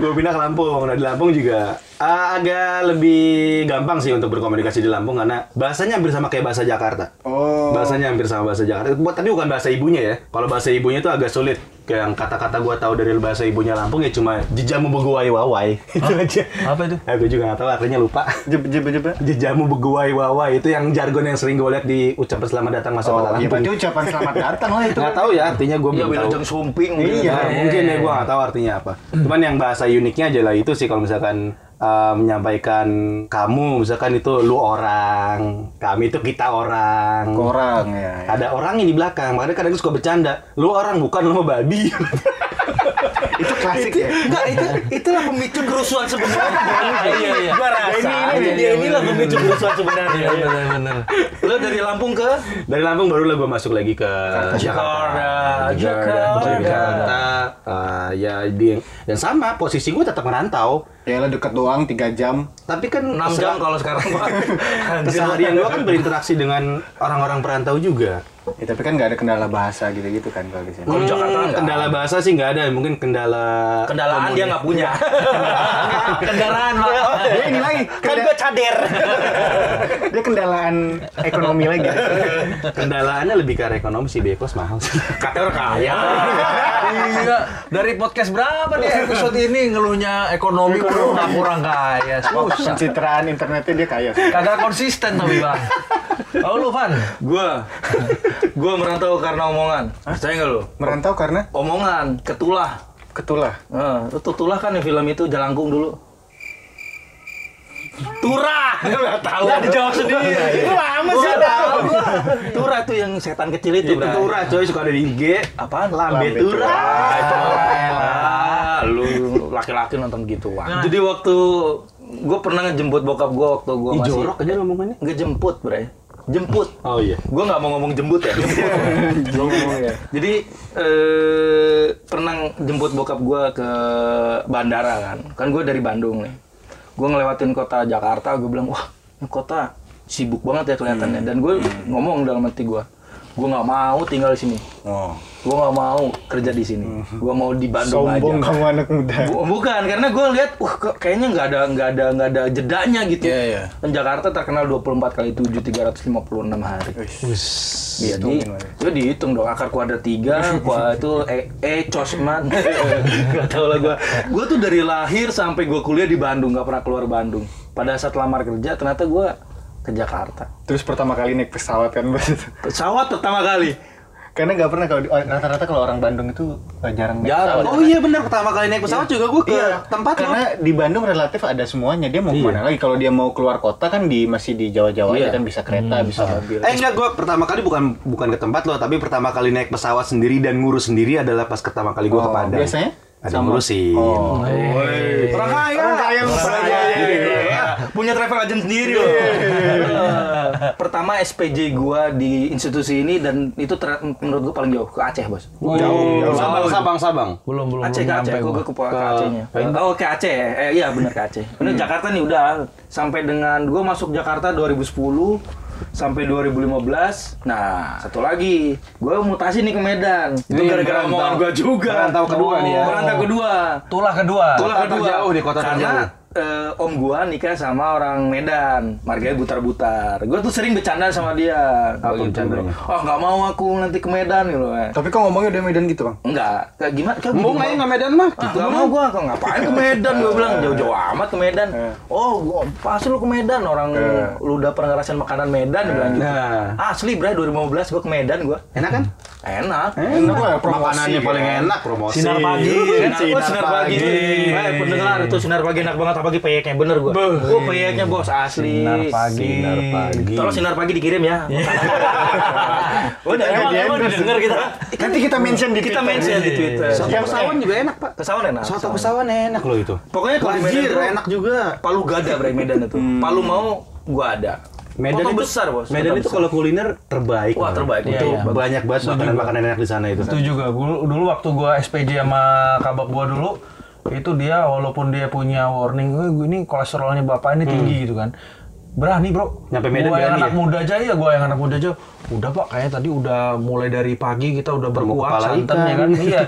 Speaker 1: Gue pindah ke Lampung. Nah di Lampung juga eh, agak lebih gampang sih untuk berkomunikasi di Lampung karena bahasanya hampir sama kayak bahasa Jakarta.
Speaker 2: Oh.
Speaker 1: Bahasanya hampir sama bahasa Jakarta. Buat tapi bukan bahasa ibunya ya. Kalau bahasa ibunya itu agak sulit. Kayak yang kata-kata gua tahu dari bahasa ibunya Lampung ya cuma jejamu beguai wawai [LAUGHS] itu aja.
Speaker 6: Apa itu?
Speaker 1: Eh, gue juga nggak tahu artinya lupa.
Speaker 2: Jeb jeb jeb.
Speaker 1: Jejamu beguai wawai itu yang jargon yang sering gue lihat di ucapan selamat datang masa
Speaker 2: Oh,
Speaker 1: kota
Speaker 2: ya berarti
Speaker 1: Lampung.
Speaker 2: ucapan selamat datang lah [LAUGHS] itu.
Speaker 1: Nggak tahu ya artinya gue
Speaker 4: Iya,
Speaker 1: belum
Speaker 4: bilang
Speaker 1: tahu.
Speaker 4: jeng sumping. gitu.
Speaker 1: Iya, mungkin ya gue nggak tahu artinya apa. Cuman yang bahasa uniknya aja lah itu sih kalau misalkan eh, menyampaikan kamu misalkan itu lu orang, kami itu kita orang.
Speaker 2: Orang ya. ya.
Speaker 1: Ada orang yang di belakang, makanya kadang suka bercanda. Lu orang bukan lu mah babi. [LAUGHS]
Speaker 2: Itu klasik ya.
Speaker 4: Enggak, itu itulah pemicu kerusuhan sebenarnya. [LAUGHS] Iya, iya. Gua rasa
Speaker 2: Ini, ini,
Speaker 4: ini,
Speaker 2: ini,
Speaker 4: dia inilah pemicu kerusuhan
Speaker 6: Iya,
Speaker 4: sebenarnya.
Speaker 6: benar benar.
Speaker 4: Lo dari Lampung ke
Speaker 1: Dari Lampung baru lah gue masuk lagi ke
Speaker 4: Jakarta.
Speaker 1: Jakarta.
Speaker 4: Jakarta.
Speaker 1: Jakarta. Eh, ya di dan sama posisi gue tetap merantau.
Speaker 2: Ya lah deket doang 3 jam.
Speaker 1: Tapi kan
Speaker 6: 6
Speaker 1: kesel-
Speaker 6: jam kalau sekarang Pak.
Speaker 1: keseharian gue kan berinteraksi dengan orang-orang perantau juga.
Speaker 2: Ya, tapi kan nggak ada kendala bahasa gitu-gitu kan kalau di sini.
Speaker 1: Kalau
Speaker 6: di Jakarta nggak
Speaker 1: kendala bahasa sih nggak ada, mungkin kendala
Speaker 4: kendaraan dia nggak punya.
Speaker 6: [LAUGHS] Kendaraan Pak. Iya.
Speaker 2: Dia ini lagi
Speaker 4: kan
Speaker 2: kendala,
Speaker 4: gua cader.
Speaker 2: dia kendalaan ekonomi lagi.
Speaker 1: kendalaannya lebih ke arah ekonomi sih Bekos mahal sih.
Speaker 4: Kater kaya.
Speaker 6: Iya, dari podcast berapa nih episode ini ngeluhnya ekonomi kurang kurang kaya, susah.
Speaker 2: Pencitraan internetnya dia kaya. sih.
Speaker 6: Kagak konsisten tapi bang. Oh lu Van,
Speaker 4: Gua gua merantau karena omongan. Percaya nggak lo?
Speaker 2: Merantau karena
Speaker 4: Omongan, ketulah.
Speaker 2: ketulah.
Speaker 4: Eh, itu tutulah kan yang film itu Jalangkung dulu. [LAUGHS] Turah, udah tahu. Iya, Udah dijawab sendiri. itu lama sih tahu. Turah tuh yang setan kecil itu,
Speaker 1: Itu
Speaker 4: Bray.
Speaker 1: Iya, turah coy suka ada di IG.
Speaker 4: Apaan?
Speaker 1: Lambe
Speaker 2: Lambe
Speaker 1: turah.
Speaker 4: Ah, itu elah. lu laki-laki nonton gituan.
Speaker 1: Nah.
Speaker 4: Jadi waktu gue pernah ngejemput bokap gue waktu gue
Speaker 1: Ih,
Speaker 4: masih
Speaker 1: jorok aja ngomongannya.
Speaker 4: ngejemput, Bray. Jemput.
Speaker 1: Oh iya.
Speaker 4: Gue nggak mau ngomong jembut ya. Jemput. Jadi eh, pernah jemput bokap gue ke bandara kan. Kan gue dari Bandung nih. Gue ngelewatin kota Jakarta, gue bilang wah ini kota sibuk banget ya kelihatannya. Dan gue ngomong dalam hati gue, gue nggak mau tinggal di sini.
Speaker 2: Oh.
Speaker 4: Gue nggak mau kerja di sini. Gue mau di Bandung
Speaker 2: Sombong kan?
Speaker 4: aja.
Speaker 2: kamu anak muda.
Speaker 4: Bu- bukan karena gue lihat wah kok kayaknya nggak ada nggak ada nggak ada jedanya gitu
Speaker 2: Iya, iya.
Speaker 4: dan Jakarta terkenal 24 kali 7 356 hari jadi
Speaker 2: dihitungin lagi.
Speaker 4: itu dihitung dong akar kuadrat
Speaker 2: [LAUGHS]
Speaker 4: 3 kuadrat itu e, e cosman [LAUGHS] nggak tahu lah gue gue tuh dari lahir sampai gue kuliah di Bandung nggak pernah keluar Bandung pada saat lamar kerja ternyata gue ke Jakarta
Speaker 2: Terus pertama kali naik pesawat kan bos.
Speaker 4: pesawat pertama kali
Speaker 2: [LAUGHS] Karena nggak pernah kalau di- rata-rata kalau orang Bandung itu eh, jarang naik
Speaker 4: Jarang.
Speaker 2: pesawat.
Speaker 1: Oh iya benar pertama kali naik pesawat juga gue ke tempat lo.
Speaker 2: Iya, karena di Bandung relatif ada semuanya dia mau kemana lagi kalau dia mau keluar kota kan di masih di Jawa-Jawa aja
Speaker 4: Iya.
Speaker 2: kan bisa kereta bisa mobil
Speaker 1: Eh enggak gue pertama kali bukan bukan ke tempat lo tapi pertama kali naik pesawat sendiri dan ngurus sendiri adalah pas pertama kali gue ke
Speaker 2: Oh,
Speaker 1: Padang.
Speaker 2: biasanya?
Speaker 1: ada
Speaker 2: Sama.
Speaker 1: ngurusin.
Speaker 2: Oh.
Speaker 1: Orang kaya. Iya,
Speaker 2: Orang kaya, orang kaya.
Speaker 4: Iya, punya travel agent sendiri loh. Pertama SPJ gua di institusi ini dan itu ter- menurut gua paling jauh ke Aceh, Bos.
Speaker 1: Jauh. Sabang, Sabang, Sabang.
Speaker 6: belum belum
Speaker 4: Aceh ke
Speaker 6: belum
Speaker 4: Aceh,
Speaker 6: nyampe
Speaker 4: gua
Speaker 6: gua.
Speaker 4: ke, ke Acehnya. Oh, ke Aceh. ya? Eh iya benar ke Aceh. Ini Jakarta nih udah sampai dengan gua masuk Jakarta 2010 sampai 2015. Nah, satu lagi, gua mutasi nih ke Medan. Itu
Speaker 1: Ini Iya,
Speaker 4: gara-gara
Speaker 1: merantau-
Speaker 4: omongan gua juga.
Speaker 1: merantau kedua nih ya.
Speaker 4: Merantau kedua.
Speaker 6: Tulah kedua.
Speaker 4: Itulah
Speaker 1: Kota
Speaker 4: kedua.
Speaker 1: terjauh di kota
Speaker 4: Karena
Speaker 1: terjauh.
Speaker 4: eh, om gua nikah sama orang Medan, marganya butar-butar. Gua tuh sering bercanda sama dia.
Speaker 1: Apa
Speaker 4: Gua bercanda.
Speaker 1: bercandanya?
Speaker 4: Oh nggak mau aku nanti ke Medan gitu
Speaker 1: iya.
Speaker 4: kan.
Speaker 2: tapi kok ngomongnya udah Medan gitu bang
Speaker 4: Enggak, kayak gimana? Kayak gitu
Speaker 1: Mau main nggak Medan mah?
Speaker 4: Ah, nggak mau gua, kok ngapain ke Medan? Gua bilang jauh-jauh amat ke Medan. Oh, gua pasti lu ke Medan orang lu udah pernah ngerasain makanan Medan dia bilang gitu.
Speaker 1: Nah,
Speaker 4: Asli bre 2015 gua ke Medan gua.
Speaker 1: enak kan?
Speaker 4: Enak.
Speaker 2: enak lah promosi iya.
Speaker 1: Makanannya paling enak promosi.
Speaker 6: Sinar pagi.
Speaker 4: Sinar,
Speaker 1: Sinar
Speaker 4: oh, sinar pagi.
Speaker 1: pagi.
Speaker 4: Eh, pendengar itu sinar pagi enak banget apalagi peyeknya bener gua. Gua peyeknya bos asli.
Speaker 6: Sinar pagi.
Speaker 1: Sinar pagi.
Speaker 4: Tolong sinar pagi dikirim ya. [LAUGHS] Udah
Speaker 2: Kita
Speaker 4: emang
Speaker 2: nggak
Speaker 4: emang
Speaker 2: diendorse.
Speaker 4: didengar kita.
Speaker 2: nanti kita mention di
Speaker 4: Kita mention di Twitter.
Speaker 1: Soto
Speaker 2: Yang
Speaker 1: pesawat juga enak, Pak.
Speaker 4: Kesawan enak.
Speaker 1: Soto
Speaker 4: kesawan.
Speaker 1: Eh. pesawat enak loh itu.
Speaker 4: Pokoknya kalau di Medan
Speaker 1: Wajir
Speaker 4: tuh-
Speaker 1: enak juga. Hmm.
Speaker 4: Palu gada bre Medan itu. Palu mau gua ada.
Speaker 1: Medan
Speaker 4: Kota
Speaker 1: itu
Speaker 4: besar, Bos.
Speaker 1: Medan
Speaker 4: Kota
Speaker 1: itu
Speaker 4: besar.
Speaker 1: kalau kuliner terbaik.
Speaker 4: Wah,
Speaker 1: banget.
Speaker 4: terbaik, iya,
Speaker 1: Itu
Speaker 4: iya.
Speaker 1: banyak banget makanan-makanan enak di sana itu.
Speaker 6: Itu juga Gua- dulu waktu gua SPJ sama kabak gua dulu itu dia walaupun dia punya warning, "Eh, gua ini kolesterolnya bapak ini tinggi gitu kan. Berani bro,
Speaker 1: Hmm. Nyampe Medan
Speaker 4: Iya.
Speaker 6: gua yang
Speaker 1: berani
Speaker 6: anak
Speaker 1: ya?
Speaker 6: muda aja ya, gua yang anak muda aja. Udah pak, kayaknya tadi udah mulai dari pagi kita udah berkuah
Speaker 1: kepala
Speaker 6: santan ya
Speaker 1: ikan. [LAUGHS]
Speaker 6: kan.
Speaker 4: [LAUGHS]
Speaker 6: iya,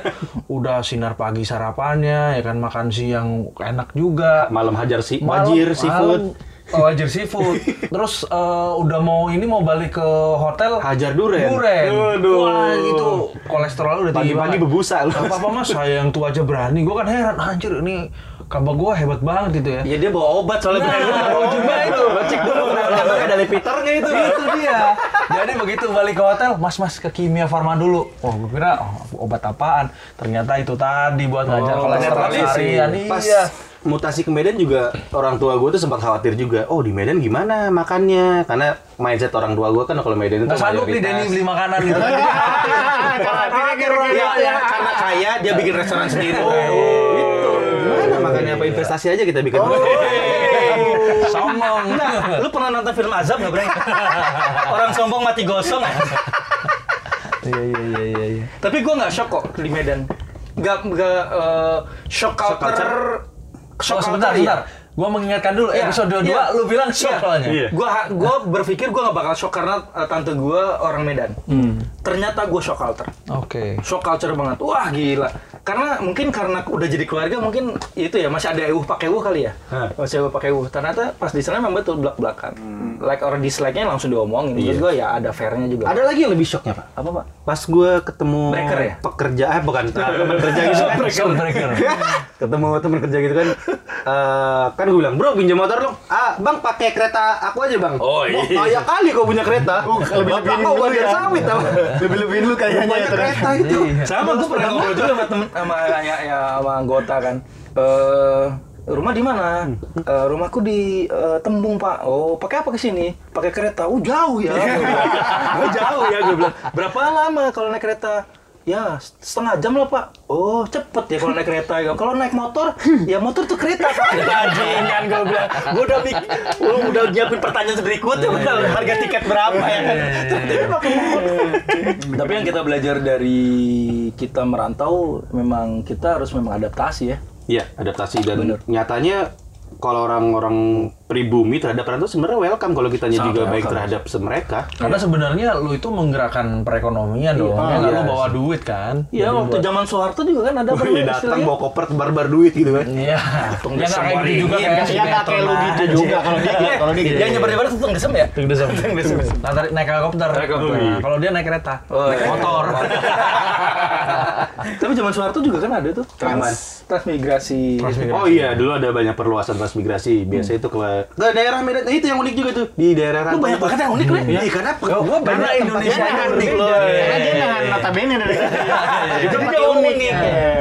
Speaker 6: udah sinar pagi sarapannya ya kan makan siang enak juga.
Speaker 1: Malam hajar si
Speaker 6: Malam-
Speaker 1: wajir seafood.
Speaker 6: malam- Oh, wajir seafood. Terus eh, udah mau ini mau balik ke hotel.
Speaker 1: Hajar duren.
Speaker 6: Duren.
Speaker 1: Waduh.
Speaker 6: Wah, gitu. itu kolesterol udah tinggi
Speaker 1: Pagi-pagi
Speaker 6: banget.
Speaker 1: bebusa lu. [LAUGHS]
Speaker 6: Gak apa-apa mas, saya yang tua aja berani. Gue kan heran, anjir ini kabar gue hebat banget gitu ya.
Speaker 4: Ya dia bawa obat soalnya
Speaker 6: Nah, Iya.
Speaker 4: bener.
Speaker 6: ujungnya itu.
Speaker 1: Cek dulu kenapa emang ada lipiternya itu.
Speaker 6: itu dia. Jadi begitu balik ke hotel, mas mas ke kimia farma dulu. Wah, gue kira oh, obat apaan? Ternyata itu tadi buat ngajar kolesterol
Speaker 1: Tapi
Speaker 6: harian.
Speaker 1: Pas
Speaker 6: Iya.
Speaker 1: mutasi ke Medan juga orang tua gue tuh sempat khawatir juga. Oh di Medan gimana makannya? Karena mindset orang tua gue kan kalau Medan itu
Speaker 6: Gak sanggup nih Denny beli makanan gitu.
Speaker 4: Ah,
Speaker 1: Karena
Speaker 4: kan.
Speaker 1: kira
Speaker 6: Iya.
Speaker 1: karena kaya dia bikin restoran sendiri. Oh, gitu. Gimana makannya apa investasi aja kita bikin.
Speaker 6: Sombong.
Speaker 4: Nah, lu pernah nonton film Azab nggak,
Speaker 1: [LAUGHS]
Speaker 4: Bray? Orang sombong mati gosong.
Speaker 6: Iya iya iya iya. iya.
Speaker 4: Tapi gua nggak shock kok di Medan. Gak nggak eh, shock culture.
Speaker 6: Oh, sebentar,
Speaker 4: culture,
Speaker 6: sebentar. Gua mengingatkan dulu
Speaker 4: ya? Iya,
Speaker 6: episode 2
Speaker 4: iya.
Speaker 6: lu bilang
Speaker 4: Iya.
Speaker 6: shock soalnya.
Speaker 1: Iya.
Speaker 4: Gua ha- gua berpikir gua nggak bakal shock karena eh, tante gua orang Medan.
Speaker 6: Hmm.
Speaker 4: Ternyata gua shock culture.
Speaker 6: Oke.
Speaker 4: Shock culture banget. Wah, gila. Karena mungkin karena udah jadi keluarga mungkin itu ya masih ada euh pakai euh kali ya.
Speaker 1: Hah.
Speaker 4: Masih euh pakai euh. Ternyata pas di sana memang betul belak-belakan.
Speaker 1: Hmm.
Speaker 4: Like or dislike-nya langsung
Speaker 6: Iya.
Speaker 4: diomongin. Menurut gua ya ada fair-nya juga.
Speaker 1: [LAUGHS] Ada lagi yang lebih shocknya pak.
Speaker 4: apa, Pak?
Speaker 1: Pas gue ketemu
Speaker 4: Breaker ya?
Speaker 1: pekerja, eh bukan [LAUGHS] eh, teman kerja
Speaker 6: Iya,
Speaker 1: gitu kan.
Speaker 6: Soul breaker.
Speaker 1: ketemu teman kerja gitu kan. Eh, kan gue bilang, bro pinjam motor dong. Ah, bang pakai kereta aku aja bang.
Speaker 6: Oh,
Speaker 1: iya. kaya kali kau punya kereta.
Speaker 2: lebih-lebihin
Speaker 1: Bapak kau
Speaker 2: Oh, dulu
Speaker 1: bukan
Speaker 2: ya.
Speaker 1: sawit tau.
Speaker 2: Lebih-lebihin lu kayaknya
Speaker 1: Banyak
Speaker 2: ya ternyata.
Speaker 1: kereta itu.
Speaker 4: sama gue Iya. pernah ngobrol juga sama temen sama ya, ya, sama anggota kan eh rumah di mana Eh, rumahku di eh, Tembung pak oh pakai apa ke sini pakai kereta oh jauh ya [LAUGHS] oh, jauh ya gue bilang berapa lama kalau naik kereta ya setengah jam lah pak oh cepet ya kalau naik kereta ya kalau naik motor ya motor tuh kereta [LAUGHS] kan gue bilang gue udah bikin gua udah nyiapin pertanyaan berikutnya betul harga tiket berapa
Speaker 2: Iya.
Speaker 4: ya kan tapi pakai motor [LAUGHS] tapi yang kita belajar dari kita merantau memang kita harus memang adaptasi ya.
Speaker 1: Iya, adaptasi dan
Speaker 4: Bener.
Speaker 1: nyatanya kalau orang-orang pribumi terhadap perantau sebenarnya welcome kalau kitanya
Speaker 4: Sangat
Speaker 1: juga baik
Speaker 4: welcome.
Speaker 1: terhadap se- mereka.
Speaker 6: Karena sebenarnya lu itu menggerakkan perekonomian dong. Ya nggak? lu
Speaker 1: Iya.
Speaker 6: bawa duit kan?
Speaker 4: Iya waktu zaman Soeharto juga kan ada
Speaker 1: Wih,
Speaker 4: berapa
Speaker 1: Oh, iya, datang
Speaker 4: istilahnya?
Speaker 1: bawa koper barbar duit gitu kan.
Speaker 6: Iya.
Speaker 4: Untung
Speaker 6: Ya nggak kayak
Speaker 4: disembarin.
Speaker 6: gitu juga
Speaker 4: Iya,
Speaker 6: kayak
Speaker 2: Ya kakek lu gitu juga kalau dia gitu,
Speaker 4: [LAUGHS]
Speaker 2: kalau dia gitu.
Speaker 4: Yang nyebar nyebar Iya, itu tentang desem ya. [LAUGHS]
Speaker 6: Tunggu dulu. Nah, tarik- naik helikopter.
Speaker 4: Helikopter.
Speaker 6: Nah, Kalau dia naik kereta,
Speaker 4: Oh,
Speaker 6: naik
Speaker 4: iya.
Speaker 6: motor.
Speaker 4: Tapi zaman Soeharto juga kan ada tuh trans transmigrasi.
Speaker 6: Transmigrasi.
Speaker 1: Oh iya, dulu ada banyak perluasan transmigrasi. Biasanya itu ke, ke daerah Medan. Nah, itu yang unik juga tuh di daerah
Speaker 4: Lu banyak banget yang unik Oh. lah.
Speaker 1: Iya, karena pe-
Speaker 6: Gua- gua banyak tempat
Speaker 1: Indonesia
Speaker 6: yang
Speaker 1: yang
Speaker 6: unik
Speaker 1: unik
Speaker 6: loh.
Speaker 1: loh.
Speaker 4: iya,
Speaker 2: Karena dia
Speaker 6: iya.
Speaker 2: nahan notabene dari Itu
Speaker 4: Jadi
Speaker 2: tempat unik.
Speaker 4: dia
Speaker 2: Iya.
Speaker 4: unik. Iya.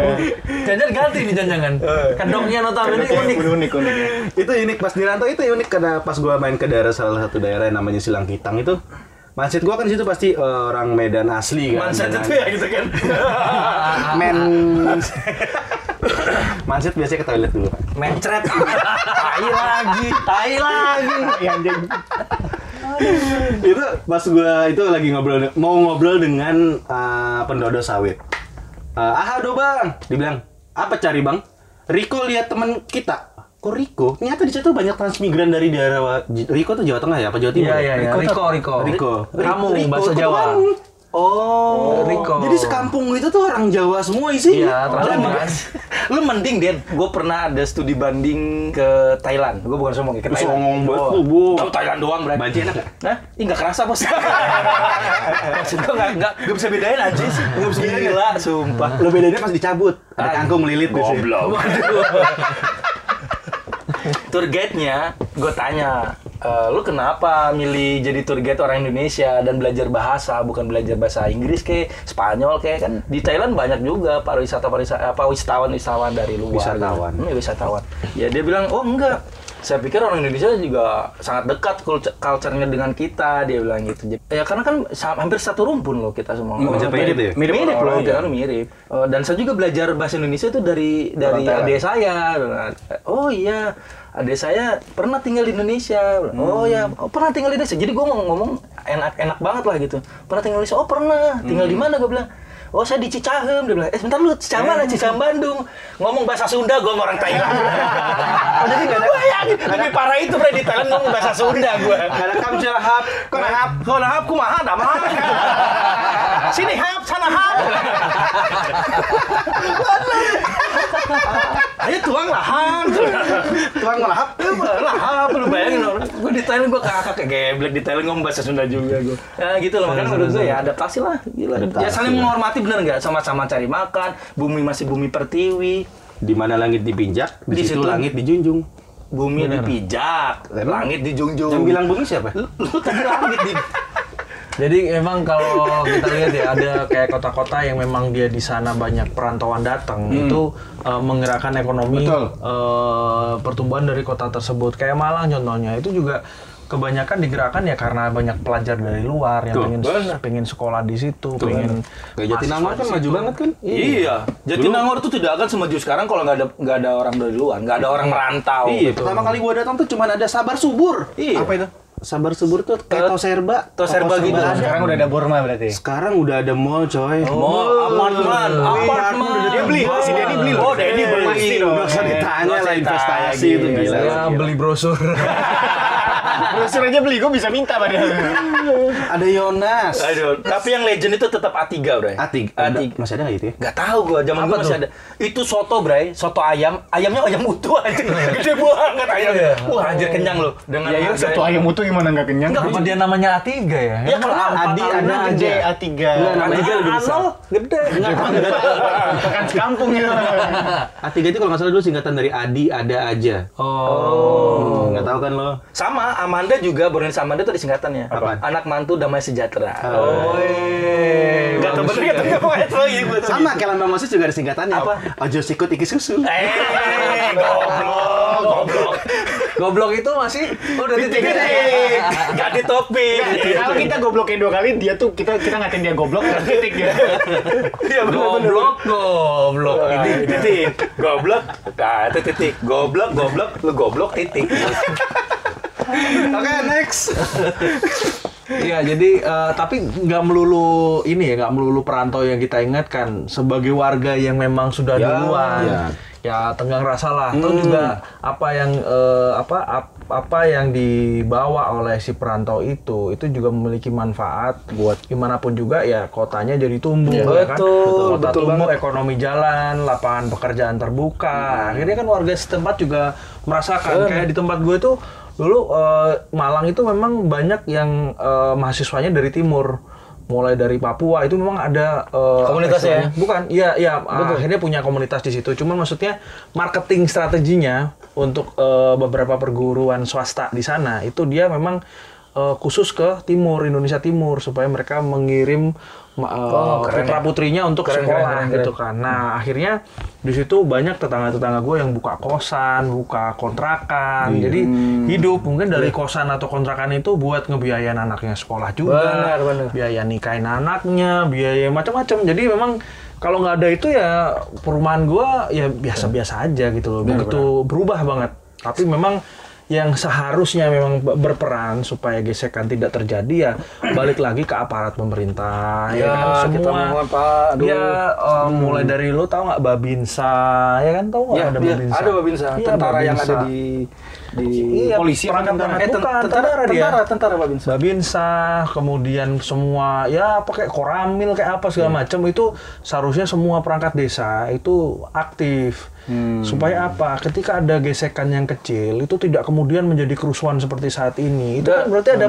Speaker 6: Jangan ganti nih jangan. Oh, iya. Kedoknya notabene unik.
Speaker 2: Unik, unik.
Speaker 1: itu unik pas di rantau itu unik karena pas gua main ke daerah salah satu daerah yang namanya Silang Kitang itu masjid gua kan di situ pasti eh, orang Medan asli kan.
Speaker 4: Manset
Speaker 1: Dengan-
Speaker 4: itu ya gitu kan. [LAUGHS]
Speaker 1: Men Mansit biasanya ke toilet dulu.
Speaker 6: [LAUGHS] Mencret. Tai lagi, tai lagi.
Speaker 2: Iya, anjing.
Speaker 1: itu pas gua itu lagi ngobrol mau ngobrol dengan eh, pendodo sawit. Eh, ah do bang, dibilang apa cari bang? Riko lihat teman kita. Kok Riko? Ternyata di situ banyak transmigran dari daerah Riko tuh Jawa Tengah ya, apa Jawa Timur?
Speaker 6: Iya iya iya.
Speaker 1: Riko,
Speaker 6: Riko Riko.
Speaker 1: Riko.
Speaker 6: Kamu
Speaker 1: Riko,
Speaker 6: bahasa Jawa.
Speaker 1: Ketupang.
Speaker 4: Oh.
Speaker 6: Riko.
Speaker 1: Jadi sekampung itu tuh orang Jawa semua isinya.
Speaker 6: Iya,
Speaker 1: Orang
Speaker 6: transmigran.
Speaker 1: Jawa.
Speaker 4: lu mending Den gue pernah ada studi banding ke Thailand gue bukan sombong ya ke Thailand
Speaker 1: Songong banget
Speaker 4: Oh.
Speaker 1: lu, Bu.
Speaker 4: Tahu Thailand doang berarti
Speaker 1: Banci enak nggak?
Speaker 4: Nah, ini nggak kerasa
Speaker 1: [LAUGHS]
Speaker 4: bos. Maksud gue nggak nggak nggak bisa bedain aja sih. Nggak
Speaker 1: Iya,
Speaker 4: bisa bedain. Gila, sumpah.
Speaker 1: Lo bedanya pas dicabut. Ada kangkung lilit di sini.
Speaker 4: [LAUGHS] Tour guide-nya, gue tanya, "Eh, lu kenapa milih jadi tour guide orang Indonesia dan belajar bahasa, bukan belajar bahasa Inggris ke, Spanyol ke, kan di Thailand banyak juga pariwisata pariwisata apa wisatawan wisatawan dari luar.
Speaker 1: Wisatawan.
Speaker 4: Hmm, wisatawan. Ya dia bilang, oh enggak, saya pikir orang Indonesia juga sangat dekat kul- culture-nya dengan kita dia bilang gitu Jadi- ya karena kan sa- hampir satu rumpun loh kita semua
Speaker 1: Oh,
Speaker 4: Orang-
Speaker 1: Jepang gitu ya?
Speaker 4: Iya, mirip, mirip loh
Speaker 2: orang-orang ya.
Speaker 4: kan mirip Eh, dan saya juga belajar bahasa Indonesia itu dari dari
Speaker 2: Orang Thailand.
Speaker 4: adik saya Nah, oh iya adik saya pernah tinggal di Indonesia oh ya oh, pernah tinggal di Indonesia jadi gue ngomong, ngomong enak enak banget lah gitu pernah tinggal di Indonesia oh pernah tinggal di mana gue bilang Oh saya di Cicahem, dia bilang, eh sebentar lu Cicahem mana? Cicahem Bandung. Ngomong bahasa Sunda, gue orang Thailand. Oh, jadi gak bayangin, lebih parah itu Freddy Thailand ngomong bahasa Sunda gue.
Speaker 1: Karena kamu sudah hap, kau nak hap.
Speaker 4: Kau lahap, ku mahal, dah [LAUGHS] mahal. Sini hap, sana [LAUGHS] hap. Ayo tuang lahan.
Speaker 1: Tuang malah hap.
Speaker 4: Lu lahap, lu bayangin orang. Gue di Thailand, gue kakak kayak geblek di Thailand ngomong bahasa Sunda juga gue. Ya gitu loh, makanya menurut gue ya adaptasi lah. Gila. Ya saling menghormati bener nggak? Sama-sama cari makan, bumi masih bumi pertiwi.
Speaker 1: Di mana langit dipinjak, di,
Speaker 4: Di
Speaker 1: situ,
Speaker 4: situ.
Speaker 1: langit dijunjung.
Speaker 4: Bumi dipijak, langit dijunjung.
Speaker 1: Yang bilang bumi siapa?
Speaker 4: lu, lu tadi langit di
Speaker 6: Jadi memang kalau kita lihat ya ada kayak kota-kota yang memang dia di sana banyak perantauan datang
Speaker 1: Hmm.
Speaker 6: itu eh, menggerakkan ekonomi
Speaker 2: Betul.
Speaker 6: eh, pertumbuhan dari kota tersebut. Kayak Malang contohnya itu juga kebanyakan digerakkan ya karena banyak pelajar dari luar yang
Speaker 1: Tuh,
Speaker 6: pengen pengen sekolah di situ, pengen
Speaker 1: Kayak Jatinangor
Speaker 6: mahasiswa di
Speaker 1: kan maju
Speaker 6: situ.
Speaker 1: banget kan?
Speaker 4: Iya, Jatinangor tuh tidak akan semaju sekarang kalau nggak ada nggak ada orang dari luar, nggak ada orang merantau.
Speaker 1: Iya, pertama kali gua datang tuh cuman ada sabar subur.
Speaker 4: Iya.
Speaker 1: Apa itu? Sabar subur tuh kayak tau serba.
Speaker 4: Tau serba gitu.
Speaker 1: ada.
Speaker 2: Sekarang udah ada Borma
Speaker 4: [LAUGHS]
Speaker 2: berarti.
Speaker 1: Sekarang udah ada Oh, mall coy.
Speaker 4: Mall, apartemen,
Speaker 1: Iya,
Speaker 4: apartemen.
Speaker 1: Dia beli, si
Speaker 4: Dedi
Speaker 1: Denny beli loh. Iya,
Speaker 4: Oh, Dedi beli.
Speaker 2: Pasti dong.
Speaker 1: Gak usah ditanya lah investasi gitu. itu gila.
Speaker 6: Ya, beli
Speaker 1: [LAUGHS]
Speaker 6: brosur.
Speaker 2: Brosur aja beli, gue bisa minta padahal.
Speaker 1: Ada Yonas.
Speaker 4: Aduh, tapi yang legend itu tetap A3, Bray.
Speaker 1: A3.
Speaker 4: A3.
Speaker 1: Masih ada nggak itu ya?
Speaker 4: Gak tahu gua, zaman gua masih ada. Itu soto, Bray. Soto ayam. Ayamnya ayam
Speaker 1: [LAUGHS]
Speaker 4: utuh aja.
Speaker 1: Iya.
Speaker 4: Gede banget ayamnya. Wah, anjir kenyang loh. Dengan
Speaker 2: Ya, ya
Speaker 4: harga-
Speaker 2: satu ayam utuh gimana nggak kenyang?
Speaker 4: Enggak,
Speaker 6: Apa dia namanya A3 ya?
Speaker 1: Iya,
Speaker 4: Ya,
Speaker 6: Emang
Speaker 4: karena
Speaker 6: A4
Speaker 1: Adi
Speaker 6: A5
Speaker 1: ada
Speaker 6: aja.
Speaker 2: Gede A3.
Speaker 1: Enggak,
Speaker 4: Namanya
Speaker 1: Anjol lebih besar. Iya.
Speaker 4: Anol, gede.
Speaker 2: Tekan sekampung gitu.
Speaker 1: A3 itu kalau nggak salah dulu singkatan dari Adi ada aja. Oh. Nggak tahu kan lo?
Speaker 4: Sama Amanda juga Bornelis Amanda itu ada singkatannya.
Speaker 1: Apaan?
Speaker 4: Anak mantu damai sejahtera. iya.
Speaker 1: Oh.
Speaker 4: Gak tau bener gak tau gak pokoknya itu lagi buat
Speaker 1: Sama kayak Lambang Mosis juga ada singkatannya.
Speaker 4: Apa?
Speaker 1: Ojo sikut iki susu.
Speaker 4: Eh, goblok, goblok.
Speaker 6: Goblok itu masih oh, udah titik.
Speaker 4: Titik, gak di topik.
Speaker 2: Kalau kita goblokin dua kali, dia tuh kita kita ngatain dia goblok terus titik dia.
Speaker 4: Iya bener-bener.
Speaker 6: Goblok, goblok.
Speaker 1: Iya.
Speaker 4: Ini titik, goblok, nah itu titik, goblok, goblok, lu goblok titik.
Speaker 1: Oke, next.
Speaker 6: Iya, jadi eh, tapi nggak melulu ini ya, nggak melulu perantau yang kita ingatkan sebagai warga yang memang sudah duluan.
Speaker 1: ya. Hmm.
Speaker 6: Ya, tenggang rasa lah. Atau juga apa yang eh, apa ap- apa yang dibawa oleh si perantau itu itu juga memiliki manfaat buat gimana pun juga ya kotanya jadi tumbuh ya
Speaker 4: Iya
Speaker 6: kan?
Speaker 4: Betul,
Speaker 6: kota
Speaker 4: betul
Speaker 6: tumbuh ekonomi jalan lapangan pekerjaan
Speaker 4: Hmm.
Speaker 6: terbuka akhirnya kan warga setempat juga merasakan kayak di tempat gue tuh dulu eh, Malang itu memang banyak yang eh, mahasiswanya dari timur mulai dari Papua itu memang ada eh,
Speaker 4: Komunitas ya?
Speaker 6: apa istilahnya? bukan iya iya akhirnya punya komunitas di situ cuman maksudnya marketing strateginya untuk eh, beberapa perguruan swasta di sana itu dia memang eh, khusus ke timur Indonesia Timur supaya mereka mengirim ma- eh,
Speaker 4: Oh, ya.
Speaker 6: putra putrinya untuk sekolah gitu kan nah akhirnya di situ banyak tetangga tetangga gue yang buka kosan buka kontrakan
Speaker 4: Iya.
Speaker 6: jadi
Speaker 4: Hmm.
Speaker 6: hidup mungkin dari kosan atau kontrakan itu buat ngebiayain anaknya sekolah juga
Speaker 4: Benar, benar.
Speaker 6: biaya nikahin anaknya, biaya macam-macam. Jadi memang kalau nggak ada itu ya perumahan gua ya biasa-biasa aja gitu loh. Begitu berubah banget. Tapi memang yang seharusnya memang b- berperan supaya gesekan tidak terjadi ya balik lagi ke aparat pemerintah ya, kan
Speaker 4: kita
Speaker 6: semua
Speaker 4: mau apa, aduh. Hmm.
Speaker 6: ya eh, mulai dari lu tahu nggak babinsa ya kan tahu nggak
Speaker 4: Ya,
Speaker 6: ada
Speaker 4: iya,
Speaker 6: babinsa
Speaker 4: ada Babinsa,
Speaker 6: Iya,
Speaker 4: tentara yang
Speaker 6: Babinsa.
Speaker 4: ada di di
Speaker 6: Iya,
Speaker 4: polisi
Speaker 6: perangkat
Speaker 4: apa tentara?
Speaker 6: perangkat. Bukan, tentara dia.
Speaker 4: tentara, tentara Babinsa.
Speaker 6: Babinsa, kemudian semua ya pakai koramil kayak apa segala macam itu seharusnya semua perangkat desa itu aktif. Supaya apa? Ketika ada gesekan yang kecil itu tidak kemudian menjadi kerusuhan seperti saat ini. Itu kan berarti ada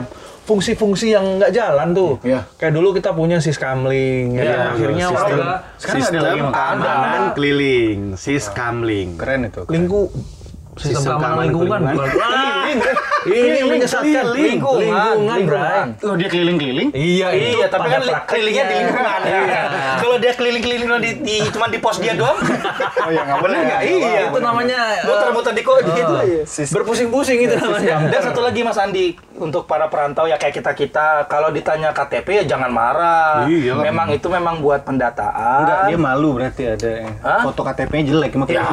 Speaker 6: fungsi-fungsi yang nggak jalan tuh.
Speaker 2: Iya.
Speaker 6: Kayak dulu kita punya siskamling, ya, kan? akhirnya
Speaker 1: sistem,
Speaker 6: warga
Speaker 2: Sekarang ada
Speaker 1: sistem kan.
Speaker 2: lagi yang
Speaker 1: keamanan keliling, siskamling.
Speaker 2: Keren itu.
Speaker 6: lingku
Speaker 1: Sistem
Speaker 6: sistem keamanan
Speaker 1: keamanan
Speaker 6: lingkungan
Speaker 1: lingkungan.
Speaker 6: bukan. Wah, Ini menyesatkan
Speaker 4: keliling.
Speaker 6: lingkungan,
Speaker 4: Lingkungan.
Speaker 6: Bray.
Speaker 2: Loh dia keliling-keliling?
Speaker 6: Iya, itu
Speaker 1: Iya, tapi
Speaker 6: pada
Speaker 1: kan li-
Speaker 6: prakteknya.
Speaker 1: kelilingnya di lingkungan. Iya. Kalau dia keliling-keliling di, di cuma di pos dia
Speaker 4: [LAUGHS]
Speaker 1: doang.
Speaker 2: Oh ya nggak
Speaker 1: Bener
Speaker 2: boleh.
Speaker 1: nggak?
Speaker 2: ya.
Speaker 1: Iya.
Speaker 6: itu namanya
Speaker 1: Muter-muter di kok
Speaker 4: Ah.
Speaker 1: gitu aja.
Speaker 6: eh, berpusing-pusing itu
Speaker 2: Oh, iya.
Speaker 6: namanya.
Speaker 4: Dan satu lagi Mas Andi untuk para perantau ya kayak kita kita kalau ditanya KTP ya jangan marah.
Speaker 1: Iya.
Speaker 4: Memang itu memang buat pendataan.
Speaker 2: Enggak,
Speaker 4: [LAUGHS]
Speaker 2: dia malu berarti ada yang
Speaker 4: Hah?
Speaker 2: foto KTP-nya jelek Iya. makanya.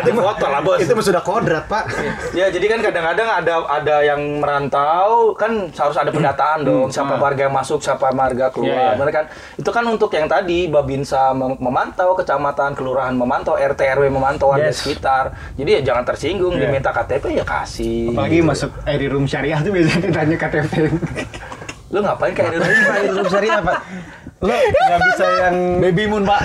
Speaker 1: Ganti foto lah bos.
Speaker 2: Itu mah sudah kodrat, Pak.
Speaker 4: Ya jadi kan kadang-kadang ada ada yang merantau kan harus ada pendataan dong siapa warga yang masuk siapa warga
Speaker 2: Iya,
Speaker 4: keluar
Speaker 2: Hmm. iya.
Speaker 4: Bener kan itu kan untuk yang tadi babinsa mem- memantau kecamatan kelurahan memantau RT RW memantau warga
Speaker 6: Yes.
Speaker 4: sekitar jadi ya jangan tersinggung
Speaker 2: Iya.
Speaker 4: diminta KTP ya kasih
Speaker 2: Apalagi masuk air room syariah tuh biasanya ditanya KTP.
Speaker 4: lu ngapain kayak di rumah
Speaker 6: Pak, itu syariah,
Speaker 4: [LAUGHS]
Speaker 6: Pak.
Speaker 2: Lo nggak bisa yang
Speaker 6: Baby Moon, Pak.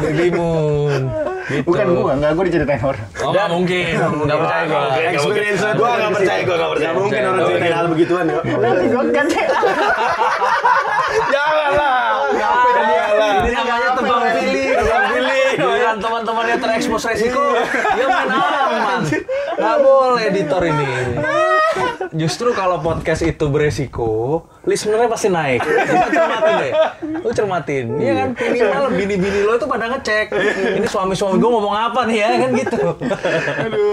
Speaker 6: Baby Moon. Gitu.
Speaker 2: bukan gua, nggak gua diceritain orang.
Speaker 6: Oh, nggak mungkin. Nggak percaya gua.
Speaker 1: Experience gue nggak percaya, gue nggak percaya.
Speaker 6: mungkin orang
Speaker 1: ceritain hal begituan ya.
Speaker 2: Nanti gua kan
Speaker 1: Janganlah.
Speaker 6: Ini namanya tebang pilih. Tebang pilih. Iya. Dengan Iya. teman-teman yang terekspos resiko, dia main aman. Nggak boleh editor ini. Justru kalau podcast itu beresiko, listenernya pasti naik. Lu cermatin deh. Lu cermatin. Iya kan? Minimal bini-bini lo itu pada ngecek. Ini suami-suami gue ngomong apa nih ya? Kan gitu.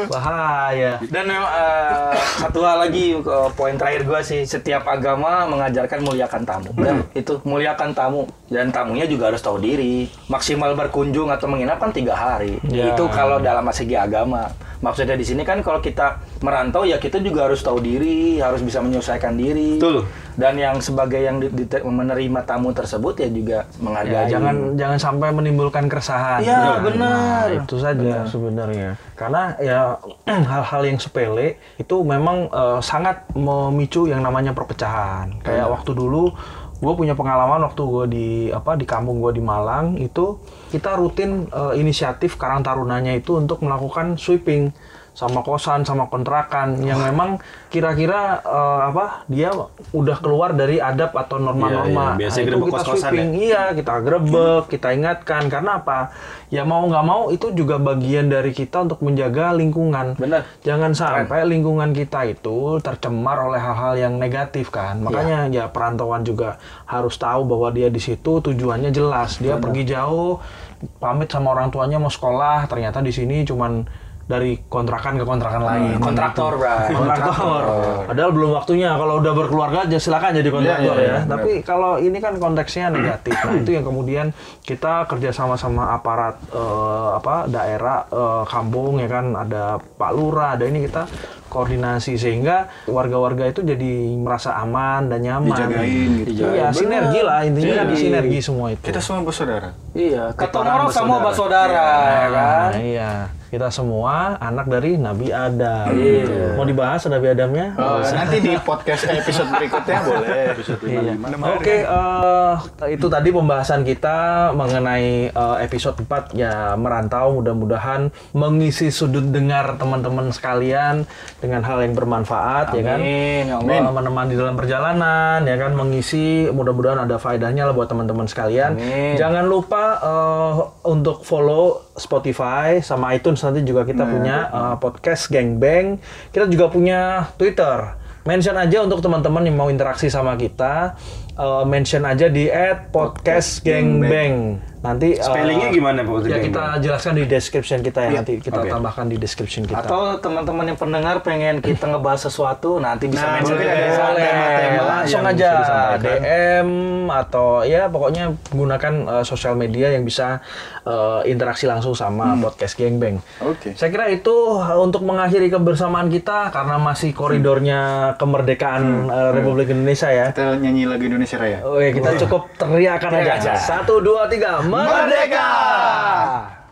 Speaker 6: Bahaya.
Speaker 4: Dan memang eh, satu hal lagi eh, poin terakhir gua sih setiap agama mengajarkan muliakan tamu.
Speaker 6: Hmm.
Speaker 4: Dan itu muliakan tamu dan tamunya juga harus tahu diri. Maksimal berkunjung atau menginap kan tiga hari.
Speaker 6: Ya.
Speaker 4: Itu kalau dalam segi agama. Maksudnya di sini kan kalau kita merantau ya kita juga harus tahu diri, harus bisa menyesuaikan diri.
Speaker 1: Betul.
Speaker 4: Dan yang sebagai yang di- di- menerima tamu tersebut ya juga
Speaker 6: Ya,
Speaker 1: Iya,
Speaker 4: menghargai.
Speaker 6: jangan jangan sampai menimbulkan keresahan.
Speaker 4: Iya,
Speaker 6: Nah,
Speaker 4: benar.
Speaker 6: itu saja sebenarnya. Karena ya [CLEARS THROAT] hal-hal yang sepele itu memang eh, sangat memicu yang namanya perpecahan.
Speaker 1: Iya.
Speaker 6: Kayak waktu dulu gue punya pengalaman waktu gue di apa di kampung gue di Malang itu kita rutin eh, inisiatif Karang Tarunanya itu untuk melakukan sweeping sama kosan sama kontrakan yang memang kira-kira eh, apa dia udah keluar dari adab atau
Speaker 1: Iya, iya.
Speaker 6: norma-norma.
Speaker 1: Biasanya
Speaker 6: Nah, itu
Speaker 1: grebek
Speaker 6: kita
Speaker 1: kos-kosan ya.
Speaker 6: sweeping. Iya, kita grebek, kita ingatkan. Karena apa? Ya mau nggak mau itu juga bagian dari kita untuk menjaga lingkungan.
Speaker 4: Benar.
Speaker 6: Jangan sampai lingkungan kita itu tercemar oleh hal-hal yang negatif kan.
Speaker 4: Iya.
Speaker 6: Makanya ya perantauan juga harus tahu bahwa dia di situ tujuannya jelas. Dia pergi jauh, pamit sama orang tuanya mau sekolah, ternyata di sini cuman dari kontrakan ke kontrakan lain. Gitu.
Speaker 4: kontraktor, Bray.
Speaker 6: Kontraktor. Padahal belum waktunya. Kalau udah berkeluarga aja silakan jadi
Speaker 2: Oh.
Speaker 6: kontraktor
Speaker 2: Iya, iya,
Speaker 6: ya.
Speaker 2: iya,
Speaker 6: Tapi kalau ini kan konteksnya negatif. Nah, itu yang kemudian kita kerja sama sama aparat eh, apa daerah eh, kampung ya kan ada Pak Lurah, ada ini kita koordinasi sehingga warga-warga itu jadi merasa aman dan nyaman.
Speaker 2: Dijagain gitu.
Speaker 6: Iya, sinergi lah intinya
Speaker 2: Sinergi.
Speaker 6: sinergi semua itu.
Speaker 2: Kita semua bersaudara.
Speaker 4: Iya, kata
Speaker 6: Kita
Speaker 4: orang sama
Speaker 6: bersaudara.
Speaker 4: bersaudara, ya kan?
Speaker 6: Nah, iya. Kita semua anak dari Nabi Adam. Mau dibahas Nabi Adamnya?
Speaker 2: Iya. Oh, nanti di podcast episode berikutnya boleh. Episode
Speaker 6: Iya. Oke, eh, itu tadi pembahasan kita mengenai eh, episode 4 ya merantau mudah-mudahan mengisi sudut dengar teman-teman sekalian dengan hal yang bermanfaat ya kan.
Speaker 4: Amin, ya Allah.
Speaker 6: Eh,
Speaker 1: Iya.
Speaker 6: menemani dalam perjalanan ya kan mengisi mudah-mudahan ada faedahnya lah buat teman-teman sekalian.
Speaker 4: Amin.
Speaker 6: Jangan lupa eh, untuk follow Spotify sama iTunes nanti juga
Speaker 1: Hmm.
Speaker 6: kita punya eh, podcast Gang Bang. Kita juga punya Twitter. Mention aja untuk teman-teman yang mau interaksi sama kita. Eh, mention aja di @podcastgangbang. Nanti eh,
Speaker 1: Spellingnya gimana, Pak Podcast Iya.
Speaker 6: Ya
Speaker 1: Gang
Speaker 6: kita jelaskan di description kita ya nanti kita tambahkan di description kita.
Speaker 4: Atau teman-teman yang pendengar pengen kita ngebahas sesuatu, nanti bisa ya.
Speaker 2: Nah,
Speaker 4: mention
Speaker 2: boleh.
Speaker 4: kita.
Speaker 2: Bisa
Speaker 6: boleh
Speaker 2: tema-tema
Speaker 6: langsung aja DM atau ya pokoknya gunakan eh, sosial media yang bisa eh, interaksi langsung sama podcast Gengbeng.
Speaker 2: Oke.
Speaker 6: Saya kira itu eh, untuk mengakhiri kebersamaan kita karena masih koridornya kemerdekaan eh, Republik Indonesia ya.
Speaker 2: Kita nyanyi lagu Indonesia Raya.
Speaker 6: Oke, kita cukup teriakan aja. Satu, dua, tiga, merdeka!